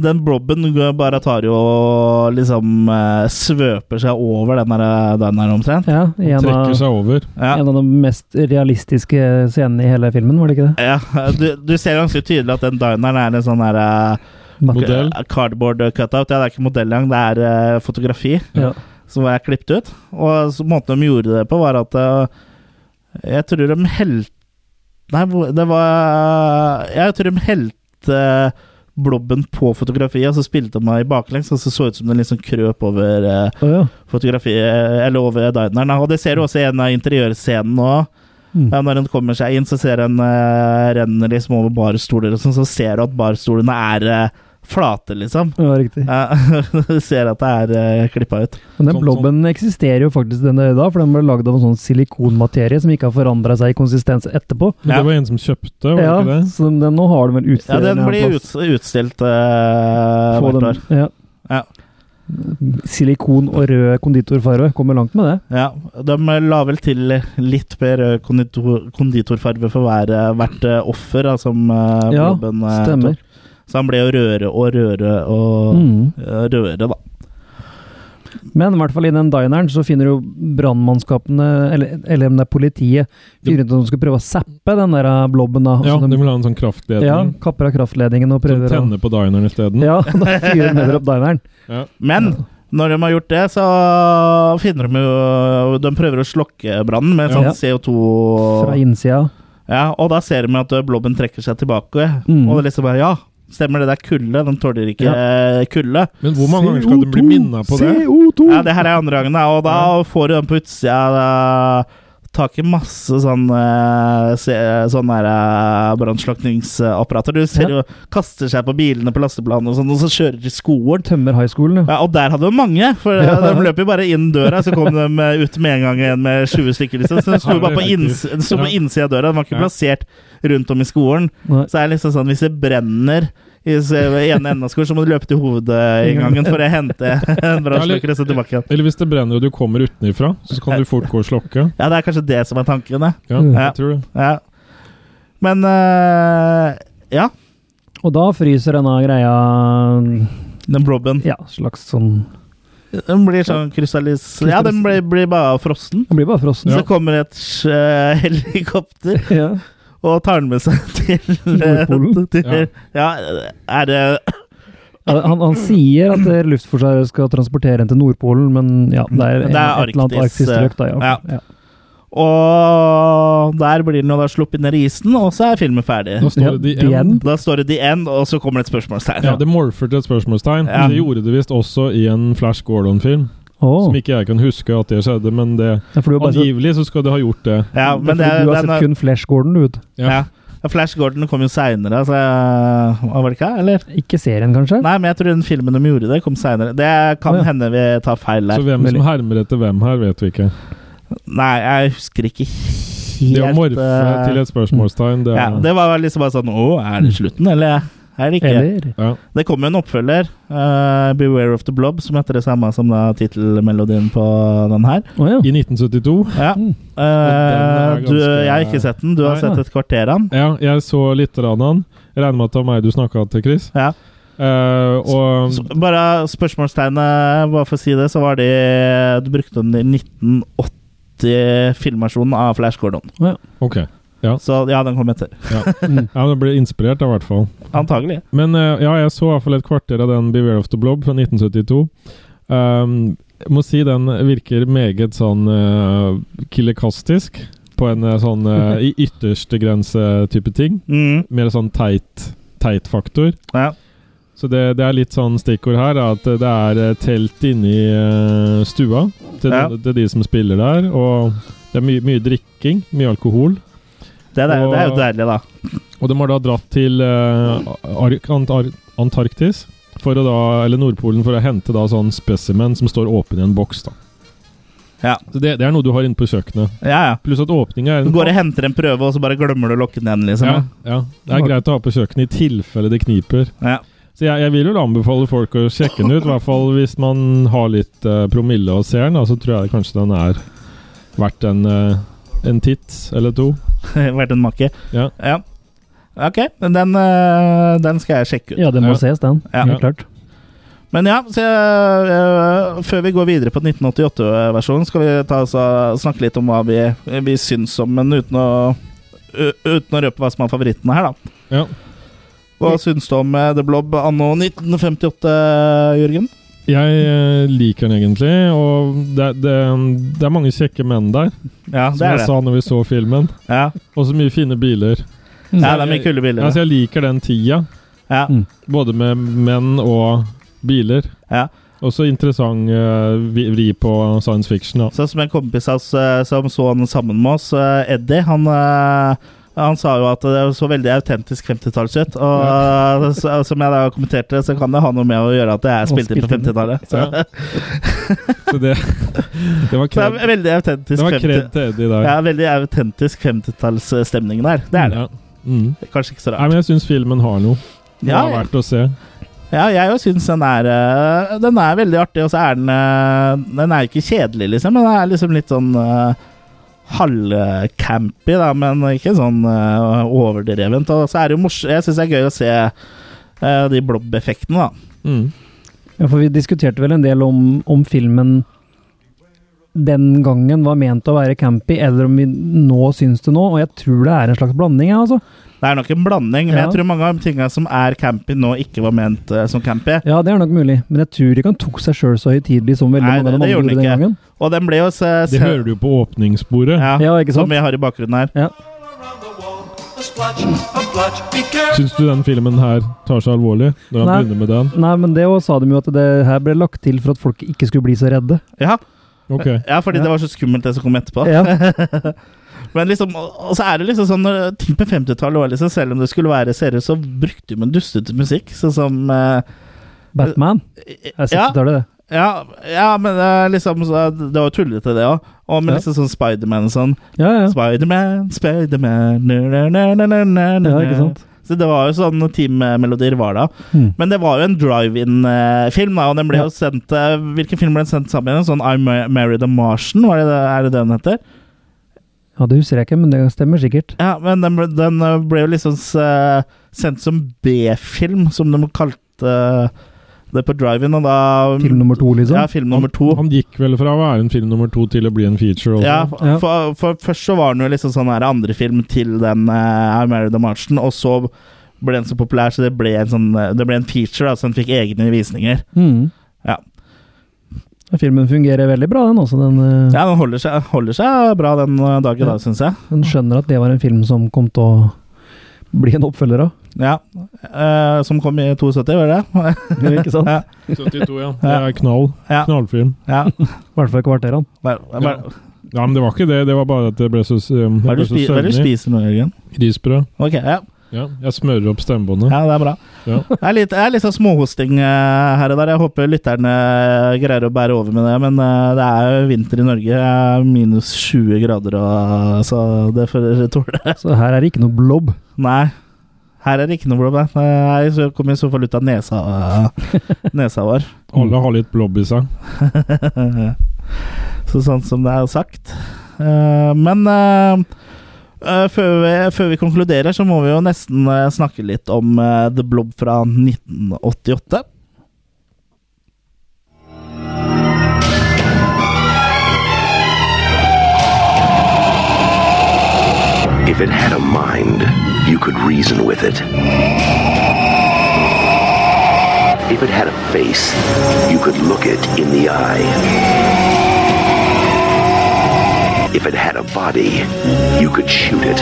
Speaker 1: den blobben bare tar jo og liksom øh, svøper seg over den der dineren omtrent.
Speaker 3: Ja, i en av,
Speaker 2: Trekker seg over.
Speaker 1: Ja.
Speaker 3: en av de mest realistiske scenene i hele filmen, var det ikke det?
Speaker 1: Ja, du, du ser ganske tydelig at den dineren er en sånn der eh,
Speaker 2: Modell.
Speaker 1: Cardboard cutout. Ja, det er ikke modell engang, det er eh, fotografi.
Speaker 3: Ja.
Speaker 1: som er klippet ut. Og så, måten de gjorde det på, var at eh, Jeg tror de helte Nei, hvor- det var Jeg tror de helte blobben på fotografiet, og så spilte de meg baklengs, og så så det ut som den liksom krøp over eh,
Speaker 3: Å ja.
Speaker 1: fotografiet, eller over dineren. Og det ser du også i en av interiørscenene òg.
Speaker 3: Mm.
Speaker 1: Ja, når hun kommer seg inn, så ser hun eh, renner liksom over barstoler og sånn, så ser du at barstolene er eh, flate, liksom.
Speaker 3: ja, riktig.
Speaker 1: Ja, du ser at det er uh, klippa ut.
Speaker 3: Men den
Speaker 2: Sånn-
Speaker 3: blobben eksisterer jo faktisk den dag i dag, for den ble lagd av en sånn silikonmaterie som ikke har forandra seg i konsistens etterpå.
Speaker 2: Men
Speaker 1: Ja.
Speaker 2: det var en som kjøpte, var det
Speaker 3: Ja,
Speaker 2: ikke det?
Speaker 3: så den, nå har den vel
Speaker 1: Ja,
Speaker 3: utstyr
Speaker 1: den blir ut, utstilt eh,
Speaker 3: Få
Speaker 1: hvert
Speaker 3: den-
Speaker 1: år.
Speaker 3: Ja.
Speaker 1: Ja.
Speaker 3: Silikon og rød konditorfarve kommer langt med det.
Speaker 1: Ja, de la vel til litt mer eh, konditor, konditorfarve for hver, eh, hvert eh, offer da, som eh,
Speaker 3: Ja,
Speaker 1: blobben eh,
Speaker 3: stemmer.
Speaker 1: tok. Så han ble jo rødere og rødere og
Speaker 3: Mm.
Speaker 1: eh, rødere, da.
Speaker 3: Men i hvert fall i den dineren så finner jo brannmannskapene, eller, eller om det er politiet, finner ut at de skal prøve å zappe den der eh, blobben. da. og
Speaker 2: Ja,
Speaker 3: så
Speaker 2: de vil ha en sånn kraftledning
Speaker 3: ja, kapper av kraftledningen og
Speaker 2: som
Speaker 3: prøver å
Speaker 2: tenner på dineren isteden.
Speaker 3: Ja, da fyrer de nedover opp dineren.
Speaker 2: Ja.
Speaker 1: Men når de har gjort det, så finner de jo De prøver å slokke brannen med sånn
Speaker 3: Ja.
Speaker 1: CO2
Speaker 3: Fra innsida.
Speaker 1: Ja, og da ser vi at ø, blobben trekker seg tilbake.
Speaker 3: Mm.
Speaker 1: Og det liksom bare Ja, stemmer det, det er kulde. Den tåler ikke
Speaker 3: Ja.
Speaker 1: eh, kulde.
Speaker 2: Men hvor mange ganger skal de bli minna på det?
Speaker 3: CO2!
Speaker 1: Ja, det her er andre gangen, da, og da får du den på utsida. da, Tak i masse sånn eh, se- sånn der, eh, brannslukningsapparater. Du ser
Speaker 3: Ja.
Speaker 1: jo kaster seg på bilene på lasteplanene og sånn, og så kjører de skolen.
Speaker 3: Tømmer high schoolen,
Speaker 1: Ja,
Speaker 3: ja.
Speaker 1: og der hadde de mange, for eh,
Speaker 3: Ja.
Speaker 1: de løp jo bare inn døra. Så kom de eh, ut med en gang igjen med 20 stykker. Liksom. Så de sto
Speaker 2: Ja, det er
Speaker 1: bare på, inns
Speaker 2: effektivt.
Speaker 1: de sto på
Speaker 2: Ja.
Speaker 1: innsida av døra, de var ikke
Speaker 2: Ja.
Speaker 1: plassert rundt om i skolen.
Speaker 3: Nei.
Speaker 1: Så det er liksom sånn, hvis det brenner i s- ene enden av skolen, så må du løpe til hovedinngangen for å hente en brannslukker og så tilbake igjen.
Speaker 2: Eller hvis det brenner og du kommer utenifra, så kan du fort gå og slokke.
Speaker 1: Ja, det er kanskje det som er tanken, ja.
Speaker 2: Ja,
Speaker 1: Ja.
Speaker 2: jeg tror det.
Speaker 1: ja. Men eh, ja,
Speaker 3: Og da fryser denne greia
Speaker 1: den blobben
Speaker 3: Ja, slags sånn
Speaker 1: Den blir sånn krystallis... Ja, den blir, blir bare frossen.
Speaker 3: Den blir bare frossen.
Speaker 1: Så kommer et eh, helikopter
Speaker 3: Ja.
Speaker 1: og tar den med seg til
Speaker 3: Nordpolen?
Speaker 1: til- Ja. er det
Speaker 3: Ja, Han, han sier at eh, Luftforsvaret skal transportere den til Nordpolen, men
Speaker 2: Mm.
Speaker 3: ja, det er,
Speaker 1: Det er
Speaker 3: et eller annet
Speaker 1: Arktis,
Speaker 3: arktisk strøk, da. Ja.
Speaker 1: ja. Og der blir den jo da sluppet ned i isen, og så er filmen ferdig.
Speaker 2: Da står
Speaker 3: Ja,
Speaker 2: det
Speaker 3: the
Speaker 2: the end.
Speaker 3: end.
Speaker 1: Da står det 'The End', og så kommer det et spørsmålstegn.
Speaker 2: Ja, det morfer til et spørsmålstegn.
Speaker 1: Ja.
Speaker 2: Det gjorde det visst også i en Flash Gordon-film.
Speaker 3: Åh,
Speaker 2: Som ikke jeg kan huske at det skjedde, men det,
Speaker 3: ja, for du har bare sett,
Speaker 2: angivelig så skal det ha gjort det.
Speaker 1: Ja, men
Speaker 3: det
Speaker 1: det,
Speaker 3: er fordi du har
Speaker 1: den,
Speaker 3: sett kun Flash Gordon, du vet.
Speaker 1: ja. Flash Gordon kom jo seinere, så Var det ikke? Eller?
Speaker 3: Ikke serien, kanskje?
Speaker 1: Nei, men jeg tror den filmen de gjorde det, kom seinere. Det kan
Speaker 3: Å, ja.
Speaker 1: hende vi tar feil der.
Speaker 2: Så hvem som hermer etter hvem her, vet vi ikke.
Speaker 1: Nei, jeg husker ikke helt
Speaker 2: Det å morfe
Speaker 1: eh,
Speaker 2: til et spørsmålstegn, det
Speaker 1: ja,
Speaker 2: er
Speaker 1: Det var liksom bare sånn Å, er det slutten, eller er det ikke?
Speaker 3: Eller?
Speaker 2: ja.
Speaker 1: Det kom jo en oppfølger, eh, 'Beware of the Blob', som heter det samme som da tittelmelodien på den her.
Speaker 3: Å ja.
Speaker 2: I 1972
Speaker 1: Ja.
Speaker 3: Mm.
Speaker 1: Eh,
Speaker 2: Og den er
Speaker 1: du,
Speaker 2: ganske-
Speaker 1: jeg har ikke sett den. Du har
Speaker 2: Nei.
Speaker 1: sett et kvarter av den.
Speaker 2: Ja, jeg så litt rann av den. Regner med at det var meg du snakka til, Chris.
Speaker 1: Ja.
Speaker 2: Eh, og
Speaker 1: Så bare spørsmålstegnet, bare for å si det, så var det Du brukte den i 1980-filmversjonen av Flash Gordon.
Speaker 2: Ok.
Speaker 1: Så ja, den kom etter.
Speaker 2: Ja, men det ble inspirert, da, i hvert fall.
Speaker 1: Antagelig.
Speaker 2: Men eh, ja, jeg så i hvert fall et kvarter av den Beware of the Blob fra 1972. Um, jeg må si den virker meget sånn uh, killekastisk. På en eh, sånn eh, i ytterste grense-type ting.
Speaker 1: Mm,
Speaker 2: Mer sånn teit, teit faktor.
Speaker 1: ja.
Speaker 2: Så det, det er litt sånn stikkord her, da, at det er eh, telt inni eh, stua til,
Speaker 1: Ja.
Speaker 2: til de som spiller der. Og det er mye, mye drikking, mye alkohol.
Speaker 1: det, er, det er jo deilig, da.
Speaker 2: Og de har da dratt til eh, Ar Ant Ar Antarktis, for å da, eller Nordpolen, for å hente da sånn specimen som står åpen i en boks. da.
Speaker 1: Ja.
Speaker 2: Så det, det er noe du har inne på kjøkkenet.
Speaker 1: Ja, ja.
Speaker 2: Pluss at åpninga er
Speaker 1: Du
Speaker 2: en
Speaker 1: går og henter en prøve, og så bare glemmer du å lokke den igjen, liksom.
Speaker 2: ja, ja, Det er greit å ha på kjøkkenet i tilfelle det kniper.
Speaker 1: Ja.
Speaker 2: Så jeg, jeg vil jo anbefale folk å sjekke den ut, i hvert fall hvis man har litt eh, promille og ser den. da, Så tror jeg kanskje den er verdt en, eh, en titt eller to.
Speaker 1: Vært en makke.
Speaker 2: Ja.
Speaker 1: ja. Ok, men den, eh, den skal jeg sjekke ut.
Speaker 3: ja, den må
Speaker 2: Ja.
Speaker 3: ses, den.
Speaker 1: Ja.
Speaker 3: Helt klart.
Speaker 1: Men ja, så, eh, før vi går videre på 1988-versjonen, skal vi ta, oss og snakke litt om hva vi, vi syns om den, uten å, u- uten å røpe hva som er favorittene her, da.
Speaker 2: Ja.
Speaker 1: Hva syns du om eh, The Blob anno 1958, Jørgen?
Speaker 2: Jeg eh, liker den egentlig, og det, det, det er mange kjekke menn der.
Speaker 1: Ja,
Speaker 2: Som
Speaker 1: det er
Speaker 2: jeg
Speaker 1: det.
Speaker 2: sa når vi så filmen.
Speaker 1: Ja,
Speaker 2: Og så mye fine biler.
Speaker 1: ja det er mye kule
Speaker 2: Ja,
Speaker 1: bilder.
Speaker 2: så jeg liker den tida,
Speaker 1: Ja.
Speaker 2: både med menn og biler.
Speaker 1: Ja.
Speaker 2: Og så interessant eh, vi- vri på science fiction. Da.
Speaker 1: Sånn som en kompis av oss eh, som så han sammen med oss, eh, Eddie, han eh, han sa jo at det så veldig autentisk 50-talls ut, og eh, så, som jeg da kommenterte, så kan det ha noe med å gjøre at det er
Speaker 3: Og
Speaker 1: spilt inn på
Speaker 3: spilt inn.
Speaker 1: 50-tallet. Så.
Speaker 2: Ja. Så det, det var
Speaker 1: så
Speaker 2: kred,
Speaker 1: det er veldig
Speaker 2: det
Speaker 1: autentisk
Speaker 2: var
Speaker 1: 50
Speaker 2: kred til Eddie der.
Speaker 1: ja, veldig autentisk 50-tallsstemning der. Det er det.
Speaker 2: Ja. Mm.
Speaker 1: Kanskje ikke så
Speaker 2: Nei,
Speaker 1: rart.
Speaker 2: men jeg syns filmen har noe. Det
Speaker 1: Ja,
Speaker 2: har vært å se.
Speaker 1: Ja, jeg òg syns den er øh, Den er veldig artig, og så er den øh, Den er ikke kjedelig, liksom, men den er liksom litt sånn øh, halvcampy, da, men ikke sånn øh, overdrevent. Og så er det jo morsomt Jeg syns det er gøy å se øh, de blob-effektene, da.
Speaker 2: Mm.
Speaker 3: Ja, for vi diskuterte vel en del om, om filmen den gangen var ment å være campy, eller om vi nå syns det nå. Og jeg tror det er en slags blanding, jeg, altså.
Speaker 1: Det er nok en blanding, men
Speaker 3: Ja.
Speaker 1: jeg tror mange av tinga som er campy nå, ikke var ment øh, som campy.
Speaker 3: Ja, det er nok mulig. Men jeg tror ikke han tok seg sjøl så høytidelig som veldig
Speaker 1: Nei,
Speaker 3: mange av
Speaker 1: det-
Speaker 3: de
Speaker 1: det
Speaker 3: andre
Speaker 1: gjorde
Speaker 3: gjorde den
Speaker 1: han
Speaker 3: gangen.
Speaker 1: Og den ble jo eh, se,
Speaker 2: Det hører du jo på åpningsbordet.
Speaker 1: Ja,
Speaker 3: Ja, ikke sant?
Speaker 1: Som vi har i bakgrunnen her.
Speaker 3: Ja.
Speaker 2: Syns du den filmen her tar seg alvorlig? Når han
Speaker 3: Nei.
Speaker 2: begynner med den?
Speaker 3: Nei, men det også sa de jo at det her ble lagt til for at folk ikke skulle bli så redde.
Speaker 1: Ja,
Speaker 2: Ok.
Speaker 1: ja fordi det var så skummelt, det som kom etterpå.
Speaker 3: Ja,
Speaker 1: Men liksom, og så er det liksom sånn når ting på 50-tallet også, liksom, Selv om det skulle være seriøst, så brukte man dustete musikk. Sånn som eh,
Speaker 3: Batman. Det er 60-tallet, det.
Speaker 1: ja, ja, men eh, liksom så, Det var jo tullete, det òg. Og med
Speaker 3: Ja.
Speaker 1: liksom sånn Spiderman og sånn.
Speaker 3: Ja, ja.
Speaker 1: Spiderman, Spiderman na, na, na, na, na, na, na.
Speaker 3: Ja, ikke sant?
Speaker 1: Så det var jo sånn teammelodier var da.
Speaker 3: Mm.
Speaker 1: Men det var jo en drive-in-film, da, og den ble
Speaker 3: Ja.
Speaker 1: jo sendt eh, Hvilken film ble den sendt sammen med? Sånn I Ma- Married a Martian, var det, er det det den heter?
Speaker 3: Ja, det husker jeg ikke, men det stemmer sikkert.
Speaker 1: Ja, men den, ble- den eh, ble jo liksom eh, sendt som B-film, som de kalte eh, det på drive-in, og da mm,
Speaker 3: Film nummer to, liksom.
Speaker 1: Ja, film nummer to.
Speaker 2: Han gikk vel fra å være en film nummer to til å bli en feature også.
Speaker 1: Ja,
Speaker 3: Ja.
Speaker 1: for, for først så var den jo liksom sånn her andre film til den uh, I Married a Martian, og så ble den så populær, så det ble en, sånn, eh, det ble en feature, da, så den fikk egne visninger.
Speaker 3: Mm.
Speaker 1: Ja.
Speaker 3: Filmen fungerer veldig bra, den også. Den, eh,
Speaker 1: Ja, den holder seg, holder seg bra den eh, dag i
Speaker 3: Ja.
Speaker 1: dag, syns jeg.
Speaker 3: den skjønner at det var en film som kom til å bli en oppfølger av.
Speaker 1: Ja. Eh, som kom i 72, var det det?
Speaker 3: Ikke sant?
Speaker 1: Ja.
Speaker 2: 72, ja. Det er knall.
Speaker 1: Ja.
Speaker 2: Knallfilm.
Speaker 1: ja.
Speaker 3: I hvert fall kvarterene.
Speaker 1: Var, var,
Speaker 2: Ja, men det var ikke det. Det var bare at det ble så, um,
Speaker 1: hva er det
Speaker 2: ble
Speaker 1: du
Speaker 2: så
Speaker 1: spi- hva er det du
Speaker 2: søvnig.
Speaker 1: spiser nå, Jørgen?
Speaker 2: Risbrød.
Speaker 1: Ok, ja.
Speaker 2: Ja, jeg smører opp stemmebåndet.
Speaker 1: Ja, det er bra.
Speaker 2: Ja.
Speaker 1: Det er litt, det er litt sånn småhosting eh, her og der. Jeg håper lytterne eh, greier å bære over med det, men eh, det er jo vinter i Norge. Det er minus 20 grader, og, så det får dere tåle.
Speaker 3: Så her er det ikke noe blob.
Speaker 1: Nei, her er det ikke noe problem. Jeg så- kommer i så fall ut av nesa, eh, nesa vår.
Speaker 2: Alle har litt blob i seg.
Speaker 1: så sånn som det er sagt. Eh, men eh, eh, før, vi, før vi konkluderer, så må vi jo nesten eh, snakke litt om eh, The Blob fra 1988.
Speaker 8: If it had a mind, you could reason with it. If it had a face, you could look it in the eye. If it had a body, you could shoot it.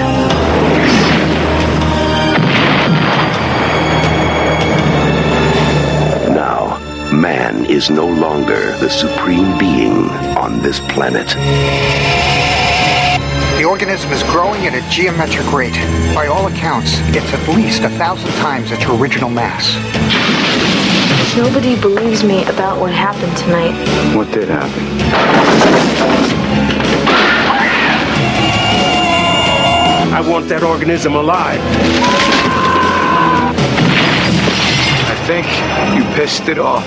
Speaker 8: Now, man is no longer the supreme being on this planet.
Speaker 9: The organism is growing at a geometric rate. By all accounts, it's at least a thousand times its original mass.
Speaker 10: Nobody believes me about what happened tonight.
Speaker 8: What did happen?
Speaker 11: I want that organism alive. I think you pissed it off.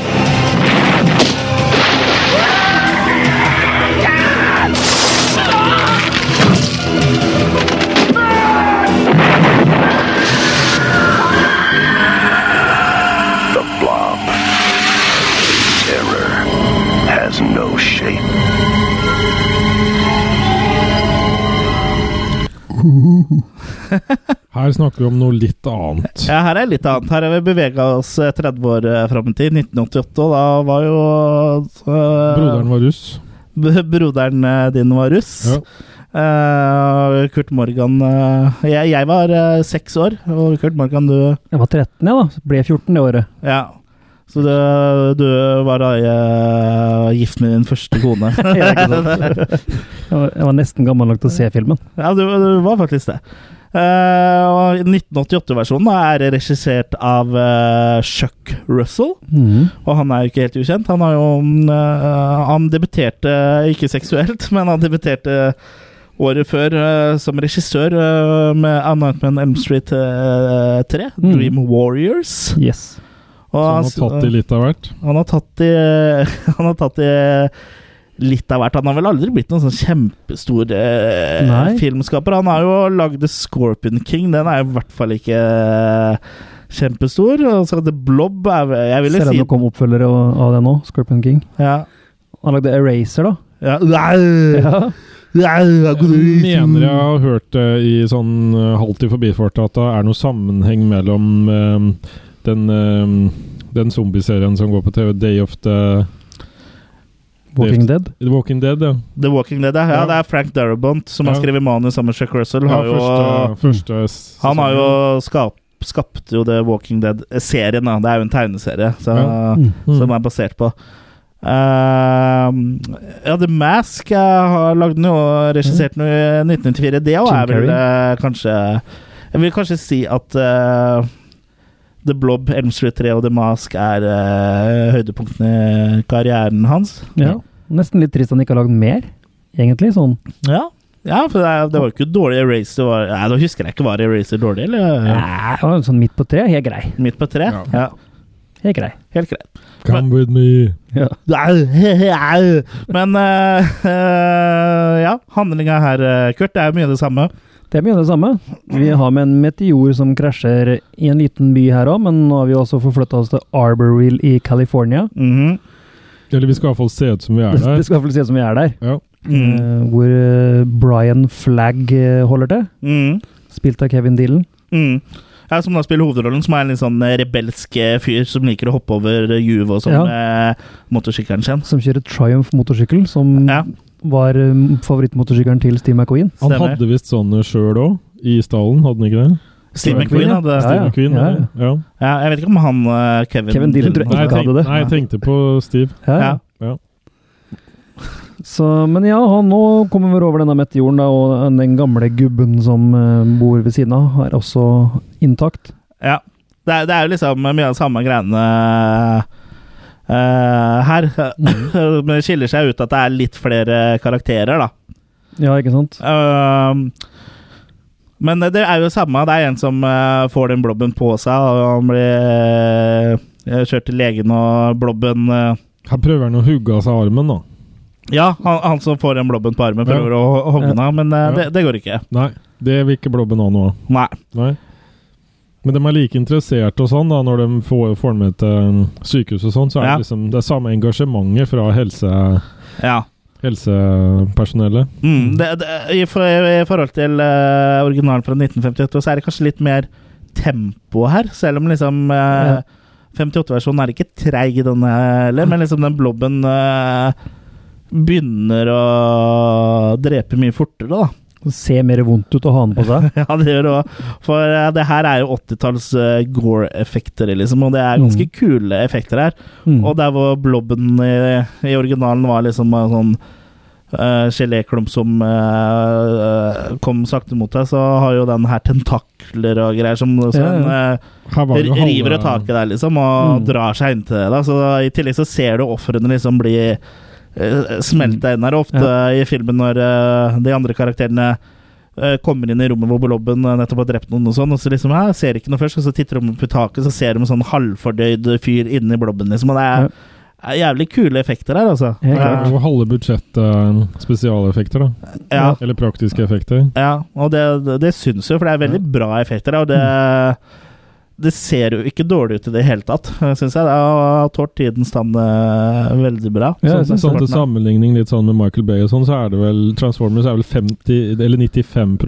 Speaker 8: The blob. Terror has no shape.
Speaker 2: Her her snakker vi om noe litt annet.
Speaker 1: Ja, her er litt annet. Her har vi bevega oss eh, 30 år eh, fram i tid. 1988, og da var jo eh,
Speaker 2: Broderen var russ.
Speaker 1: b- Broderen eh, din var russ.
Speaker 2: Ja.
Speaker 1: Eh, Kurt Morgan eh, jeg, jeg var eh, seks år, og Kurt Morgan, du
Speaker 3: Jeg var 13, jeg, da. Ble 14 det året.
Speaker 1: Ja. Så du, du var da eh, gift med din første kone.
Speaker 3: Ja, ikke sant? Jeg var, jeg var nesten gammel nok til å se filmen.
Speaker 1: Ja, det, var- det var faktisk det. Eh, og 1988-versjonen er regissert av eh, Chuck Russell. Og han er jo ikke helt ukjent. Han, har jo, eh, han debuterte, eh, ikke seksuelt, men han debuterte året før eh, som regissør eh, med A Nightmare on Elm Street eh, 3, Dream Warriors.
Speaker 3: Yes.
Speaker 1: Og
Speaker 2: Mm. Så han
Speaker 1: s-
Speaker 2: har tatt i litt av hvert.
Speaker 1: han har tatt i Han har tatt i eh, litt av hvert. Han har vel aldri blitt noen sånn kjempestor eh,
Speaker 3: Nei.
Speaker 1: filmskaper. Han har jo lagd The Scorpion King, den er jo i hvert fall ikke eh, kjempestor. Og så The Blob er vel- Jeg ville
Speaker 3: Selv om
Speaker 1: si
Speaker 3: det kom oppfølgere av av det nå, Scorpion King.
Speaker 1: ja.
Speaker 3: Han lagde Eraser, da.
Speaker 1: Ja. Au! Au, au,
Speaker 2: Mener jeg har hørt det i sånn eh, halvt i forbifarten at det er noe sammenheng mellom eh, den, eh, den zombieserien som går på TV, Day of the
Speaker 3: Walking
Speaker 2: Day
Speaker 3: Dead.
Speaker 2: of, The Walking Dead, ja.
Speaker 1: The Walking Dead, ja. ja. Det er Frank Darabont som har
Speaker 2: Ja.
Speaker 1: skrevet manus sammen med Chuck Russell.
Speaker 2: ja
Speaker 1: Har jo,
Speaker 3: eh,
Speaker 2: første, første s-
Speaker 1: han har jo
Speaker 2: sesongen.
Speaker 1: skap, skapte jo The Walking Dead-serien, da. Det er jo en tegneserie så,
Speaker 2: Ja. Mm.
Speaker 1: som er basert på. Ehm, ja, The Mask jeg har lagd noe og regissert noe i 1994. Det også
Speaker 3: Jim
Speaker 1: er vel
Speaker 3: Carrey.
Speaker 1: eh, kanskje Jeg vil kanskje si at eh, The Blob, Elm Street 3 og The Mask er eh, høydepunktene i karrieren hans.
Speaker 3: Ja. Nesten litt trist han ikke har lagd mer, egentlig. sånn.
Speaker 1: Ja, ja for det, er- det var jo ikke dårlig Eraser. Var, nei, da husker jeg ikke, var Eraser dårlig, eller?
Speaker 3: Nei, det var sånn midt på treet. Helt grei.
Speaker 1: Midt på tre?
Speaker 2: Ja.
Speaker 1: Ja.
Speaker 3: Helt grei.
Speaker 1: Helt greit.
Speaker 2: Come with me.
Speaker 3: Ja.
Speaker 1: Au, au. Men eh, eh, ja, handlinga her, eh, Kurt, det er jo mye det samme.
Speaker 3: Det er mye det samme. Vi har med en meteor som krasjer i en liten by her òg, men nå har vi også forflytta oss til Arborville i California.
Speaker 1: Mhm.
Speaker 2: Eller vi skal iallfall se ut som vi er
Speaker 3: Det,
Speaker 2: der.
Speaker 3: det skal i hvert fall se ut som vi er der.
Speaker 2: Ja.
Speaker 1: Mhm.
Speaker 3: Eh, hvor eh, Brian Flagg eh, holder til,
Speaker 1: Mhm.
Speaker 3: spilt av Kevin Dillon.
Speaker 1: Mhm. Ja, som da spiller hovedrollen, som er en litt sånn eh, rebelsk eh, fyr som liker å hoppe over eh, juve og sånn
Speaker 3: Ja.
Speaker 1: med motorsykkelen sin.
Speaker 3: Som kjører Triumph motorsykkel, som
Speaker 1: Ja.
Speaker 3: var eh, favorittmotorsykkelen til Steve McQueen.
Speaker 2: Han
Speaker 1: Stemmer.
Speaker 2: hadde visst sånn sjøl òg, i stallen, hadde han ikke det?
Speaker 1: Steve McQueen hadde
Speaker 3: Ja,
Speaker 2: Steve McQueen,
Speaker 3: ja,
Speaker 2: ja. ja.
Speaker 1: ja, Jeg vet ikke om han eh, Kevin,
Speaker 3: Kevin Dillon tror jeg
Speaker 2: Nei, jeg
Speaker 3: ikke hadde
Speaker 2: tenkte,
Speaker 3: det.
Speaker 2: nei, jeg tenkte på Steve.
Speaker 3: Ja.
Speaker 1: Ja.
Speaker 2: Ja.
Speaker 3: Så, men ja, han nå kommer vi over denne meteoren, da, og den gamle gubben som eh, bor ved siden av, er også intakt.
Speaker 1: Ja. Det er, det er jo liksom mye av de samme greiene eh, her.
Speaker 3: Mm.
Speaker 1: Men det skiller seg ut at det er litt flere karakterer, da.
Speaker 3: Ja, ikke sant?
Speaker 1: Ehm, men det er jo samme. Det er en som eh, får den blobben på seg, og han blir eh, kjørt til legen, og blobben eh,
Speaker 2: Her prøver han å hugge av seg armen, da.
Speaker 1: Ja, han, han som får den blobben på armen, prøver
Speaker 2: Ja.
Speaker 1: å ho- hogge den av, men eh,
Speaker 2: Ja.
Speaker 1: det, det går ikke.
Speaker 2: Nei, det vil ikke blobben ha noe av.
Speaker 1: Nei.
Speaker 2: Nei. Men de er like interessert og sånn, da, når de får, får den med til um, sykehus og sånn, så er
Speaker 1: Ja.
Speaker 2: det liksom det er samme engasjementet fra helse,
Speaker 1: Ja.
Speaker 2: helsepersonellet.
Speaker 1: Mm, det, det, i, for, I forhold til eh, originalen fra 1958 så er det kanskje litt mer tempo her, selv om liksom eh, 58-versjonen er ikke treig, den heller, men liksom den blobben eh, begynner å drepe mye fortere, da.
Speaker 3: Ser mer vondt ut å ha den på seg.
Speaker 1: Ja, det gjør det òg. For eh, det her er jo 80-talls eh, Gore-effekter, liksom, og det er ganske kule effekter her.
Speaker 3: Mm.
Speaker 1: Og der hvor blobben i, i originalen var liksom en sånn eh, geléklump som eh, kom sakte mot deg, så har jo den her tentakler og greier som så
Speaker 3: Ja, ja.
Speaker 1: den, eh,
Speaker 2: Her var det
Speaker 1: r-
Speaker 2: jo halve-
Speaker 1: river i taket der, liksom, og drar seg inntil deg. da. Så I tillegg så ser du ofrene liksom bli eh, smelta inn her. Ofte i filmen når eh, de andre karakterene eh, kommer inn i rommet hvor Blobben eh, nettopp har drept noen, og sånn, og så liksom jeg ser ikke noe først, og så titter de opp i taket, så ser de en sånn halvfordøyd fyr inni Blobben, liksom. Og det er, er jævlig kule effekter her, altså.
Speaker 3: Helt
Speaker 2: Det er jo halve budsjettet um, spesialeffekter, da.
Speaker 1: Ja.
Speaker 2: Eller praktiske effekter.
Speaker 1: Ja, og det, det- det syns jo, for det er veldig bra effekter. Og det, det ser jo ikke dårlig ut i det hele tatt, syns jeg. Det har tålt tidens tann eh, veldig bra.
Speaker 2: Ja,
Speaker 1: Sånn-
Speaker 2: jeg synes sånn Til
Speaker 1: sånn-
Speaker 2: sammenligning litt sånn med Michael Bay og sånn, så er det vel Transformers er vel 50, eller 95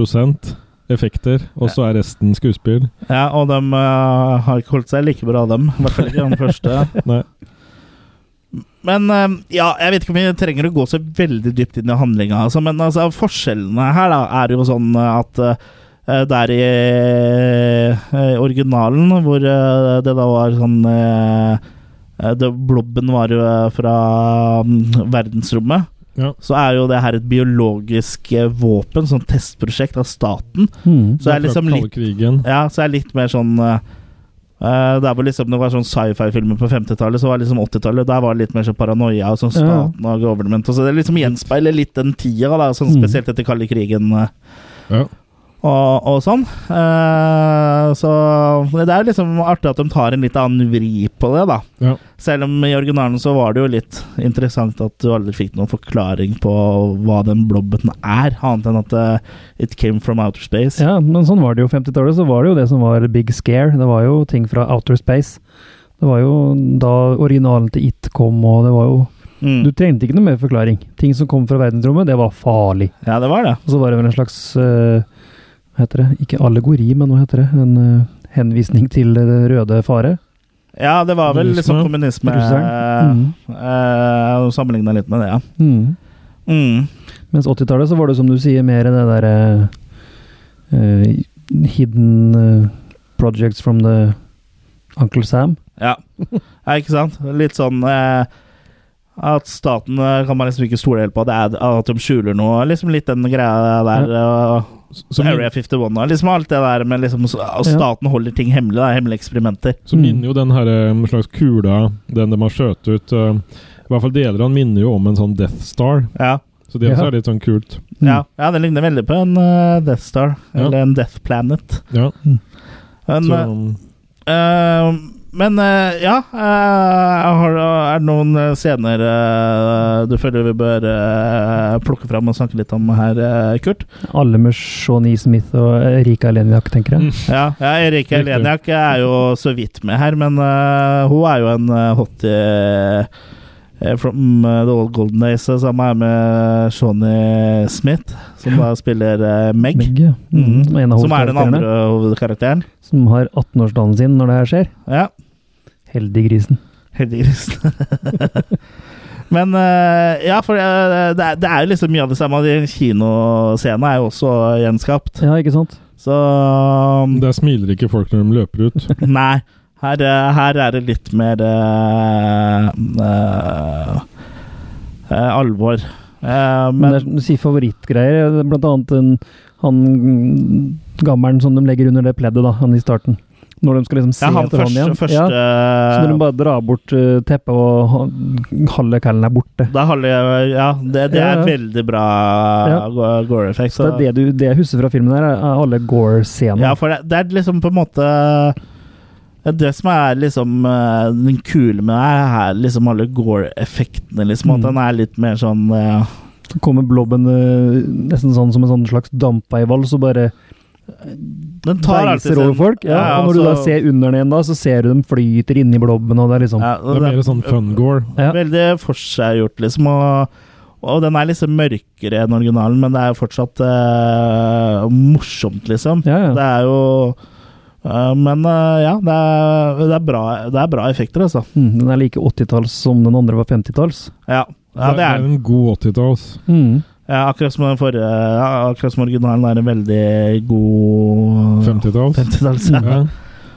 Speaker 2: effekter, og så er resten skuespill.
Speaker 1: Ja, og de eh, har ikke holdt seg like bra, dem. I hvert fall ikke den første.
Speaker 2: Nei.
Speaker 1: Men eh, ja, jeg vet ikke om vi trenger å gå så veldig dypt inn i handlinga, altså, men altså, forskjellene her da, er jo sånn at eh, der i eh, originalen, hvor eh, det da var sånn eh, eh, det, Blobben var jo eh, fra mm, verdensrommet.
Speaker 2: Ja.
Speaker 1: Så er jo det her et biologisk eh, våpen, sånn testprosjekt av staten.
Speaker 3: Mm.
Speaker 1: Så det er liksom litt
Speaker 2: Kalde krigen.
Speaker 1: ja, så er det litt mer sånn eh, eh, Der hvor liksom det var sånn sci-fi-filmer på 50-tallet, så var det liksom 80-tallet Der var det litt mer sånn paranoia og sånn staten og government. Og så det liksom gjenspeiler litt den tida, da, sånn
Speaker 3: Mm.
Speaker 1: spesielt etter kalde krigen eh,
Speaker 2: Ja.
Speaker 1: og, og sånn. Eh, så det er liksom artig at de tar en litt annen vri på det, da.
Speaker 2: Ja.
Speaker 1: Selv om i originalen så var det jo litt interessant at du aldri fikk noen forklaring på hva den blobben er, annet enn at eh, it came from outer space.
Speaker 3: Ja, men sånn var det jo 50-tallet, så var det jo det som var big scare. Det var jo ting fra outer space. Det var jo da originalen til It kom, og det var jo
Speaker 1: Mm.
Speaker 3: Du trengte ikke noe mer forklaring. Ting som kom fra verdensrommet, det var farlig.
Speaker 1: ja, det var det.
Speaker 3: Og så var det vel en slags eh, Hva heter det? Ikke allegori, men hva heter det? En eh, henvisning til eh, det røde fare.
Speaker 1: Ja, det var vel liksom kommunisme
Speaker 3: Russeren.
Speaker 2: Mm.
Speaker 1: eh, eh, Sammenligna litt med det, ja.
Speaker 3: Mm.
Speaker 1: Mm.
Speaker 3: Mens 80-tallet så var det som du sier mer det derre Hidden eh, projects from the Uncle Sam.
Speaker 1: ja. ja ikke sant? Litt sånn eh, at staten eh, kan man liksom ikke stole helt på. Det er at de skjuler noe. Liksom litt den greia der. Og,
Speaker 2: Som,
Speaker 1: Area 51 og liksom alt det der med liksom s- at
Speaker 3: Ja.
Speaker 1: staten holder ting hemmelig. Da, hemmelige eksperimenter.
Speaker 2: Så
Speaker 3: Mm.
Speaker 2: minner jo den her eh, slags kula, den de har skjøt ut eh, I hvert fall deler av den minner jo om en sånn Death Star.
Speaker 1: Ja.
Speaker 2: Så det også
Speaker 3: Ja.
Speaker 2: er litt sånn kult.
Speaker 1: Ja, ja, den ligner veldig på en eh, Death Star.
Speaker 2: Ja.
Speaker 1: Eller en Death Planet.
Speaker 2: Ja.
Speaker 1: En,
Speaker 2: Så, mm,
Speaker 1: eh, Eh, men eh, ja eh, har, Er det noen eh, scener eh, du føler vi bør eh, plukke fram og snakke litt om her, eh, Kurt?
Speaker 3: Alle med Shaun E. Smith og eh, Erika Eleniak, tenker jeg.
Speaker 1: Ja, ja Erika
Speaker 2: Riktig.
Speaker 1: Eleniak er jo så vidt med her, men eh, hun er jo en eh, hot eh, from eh, the old golden days, eh, som er med Shawnee Smith, som da spiller eh, Meg.
Speaker 3: Meg, ja.
Speaker 1: Mhm.
Speaker 3: Som Mm. en av
Speaker 1: Som er den
Speaker 3: hovedkarakterene,
Speaker 1: andre hovedkarakteren.
Speaker 3: Som har 18-årsdagen sin når det her skjer.
Speaker 1: Ja.
Speaker 3: Heldiggrisen.
Speaker 1: Heldiggrisen. Men eh, ja, for eh, det, er, det er jo liksom mye av det samme. De Kinoscenen er jo også gjenskapt.
Speaker 3: Ja, ikke sant?
Speaker 1: Så
Speaker 2: der smiler ikke folk når de løper ut.
Speaker 1: Nei. Her, eh, her er det litt mer eh, eh, eh, alvor. Eh,
Speaker 3: Men
Speaker 1: men
Speaker 3: det er, sånn som du sier favorittgreier, det er blant annet en, han gammelen som de legger under det pleddet, da, han i starten. Når de skal liksom se
Speaker 1: ja, han
Speaker 3: etter han
Speaker 1: første,
Speaker 3: igjen.
Speaker 1: første
Speaker 3: Ja, så når de bare drar bort eh, teppet, og han- halve kællen er borte.
Speaker 1: Da holder jeg Ja, det, det
Speaker 3: Ja,
Speaker 1: er
Speaker 3: ja.
Speaker 1: veldig bra
Speaker 3: Ja.
Speaker 1: go- gore-effekt.
Speaker 3: Så det, er det, du, det jeg husker fra filmen, her, er alle gore-scener.
Speaker 1: Ja, for det, det er liksom på en måte det er det som er liksom eh, den kule med det her, er liksom alle gore-effektene. liksom, At
Speaker 3: Mm.
Speaker 1: den er litt mer sånn eh,
Speaker 3: Så kommer blobben eh, nesten sånn som en sånn slags dampeival, så bare
Speaker 1: Den tar alltid altså,
Speaker 3: deiser over folk. Ja, og når du da
Speaker 1: så-
Speaker 3: ser under den igjen, da, så ser du dem flyter inni blobben, og det er liksom
Speaker 1: ja,
Speaker 2: Det er mer sånn fun-gore.
Speaker 3: Ja.
Speaker 1: Veldig forseggjort, liksom. Og, og den er liksom mørkere enn originalen, men det er jo fortsatt eh, morsomt, liksom.
Speaker 3: Ja, ja.
Speaker 1: Det er jo eh, Men eh, ja, det er, det, er bra, det er bra effekter, altså.
Speaker 3: Mm, den er like 80-talls som den andre var 50-talls.
Speaker 1: Ja, ja det er den.
Speaker 2: en god 80-talls.
Speaker 3: Mm.
Speaker 1: Ja, Eh, akkurat som den forrige ja, Akkurat som originalen er en veldig god
Speaker 2: 50-talls.
Speaker 1: 50-talls.
Speaker 2: Ja.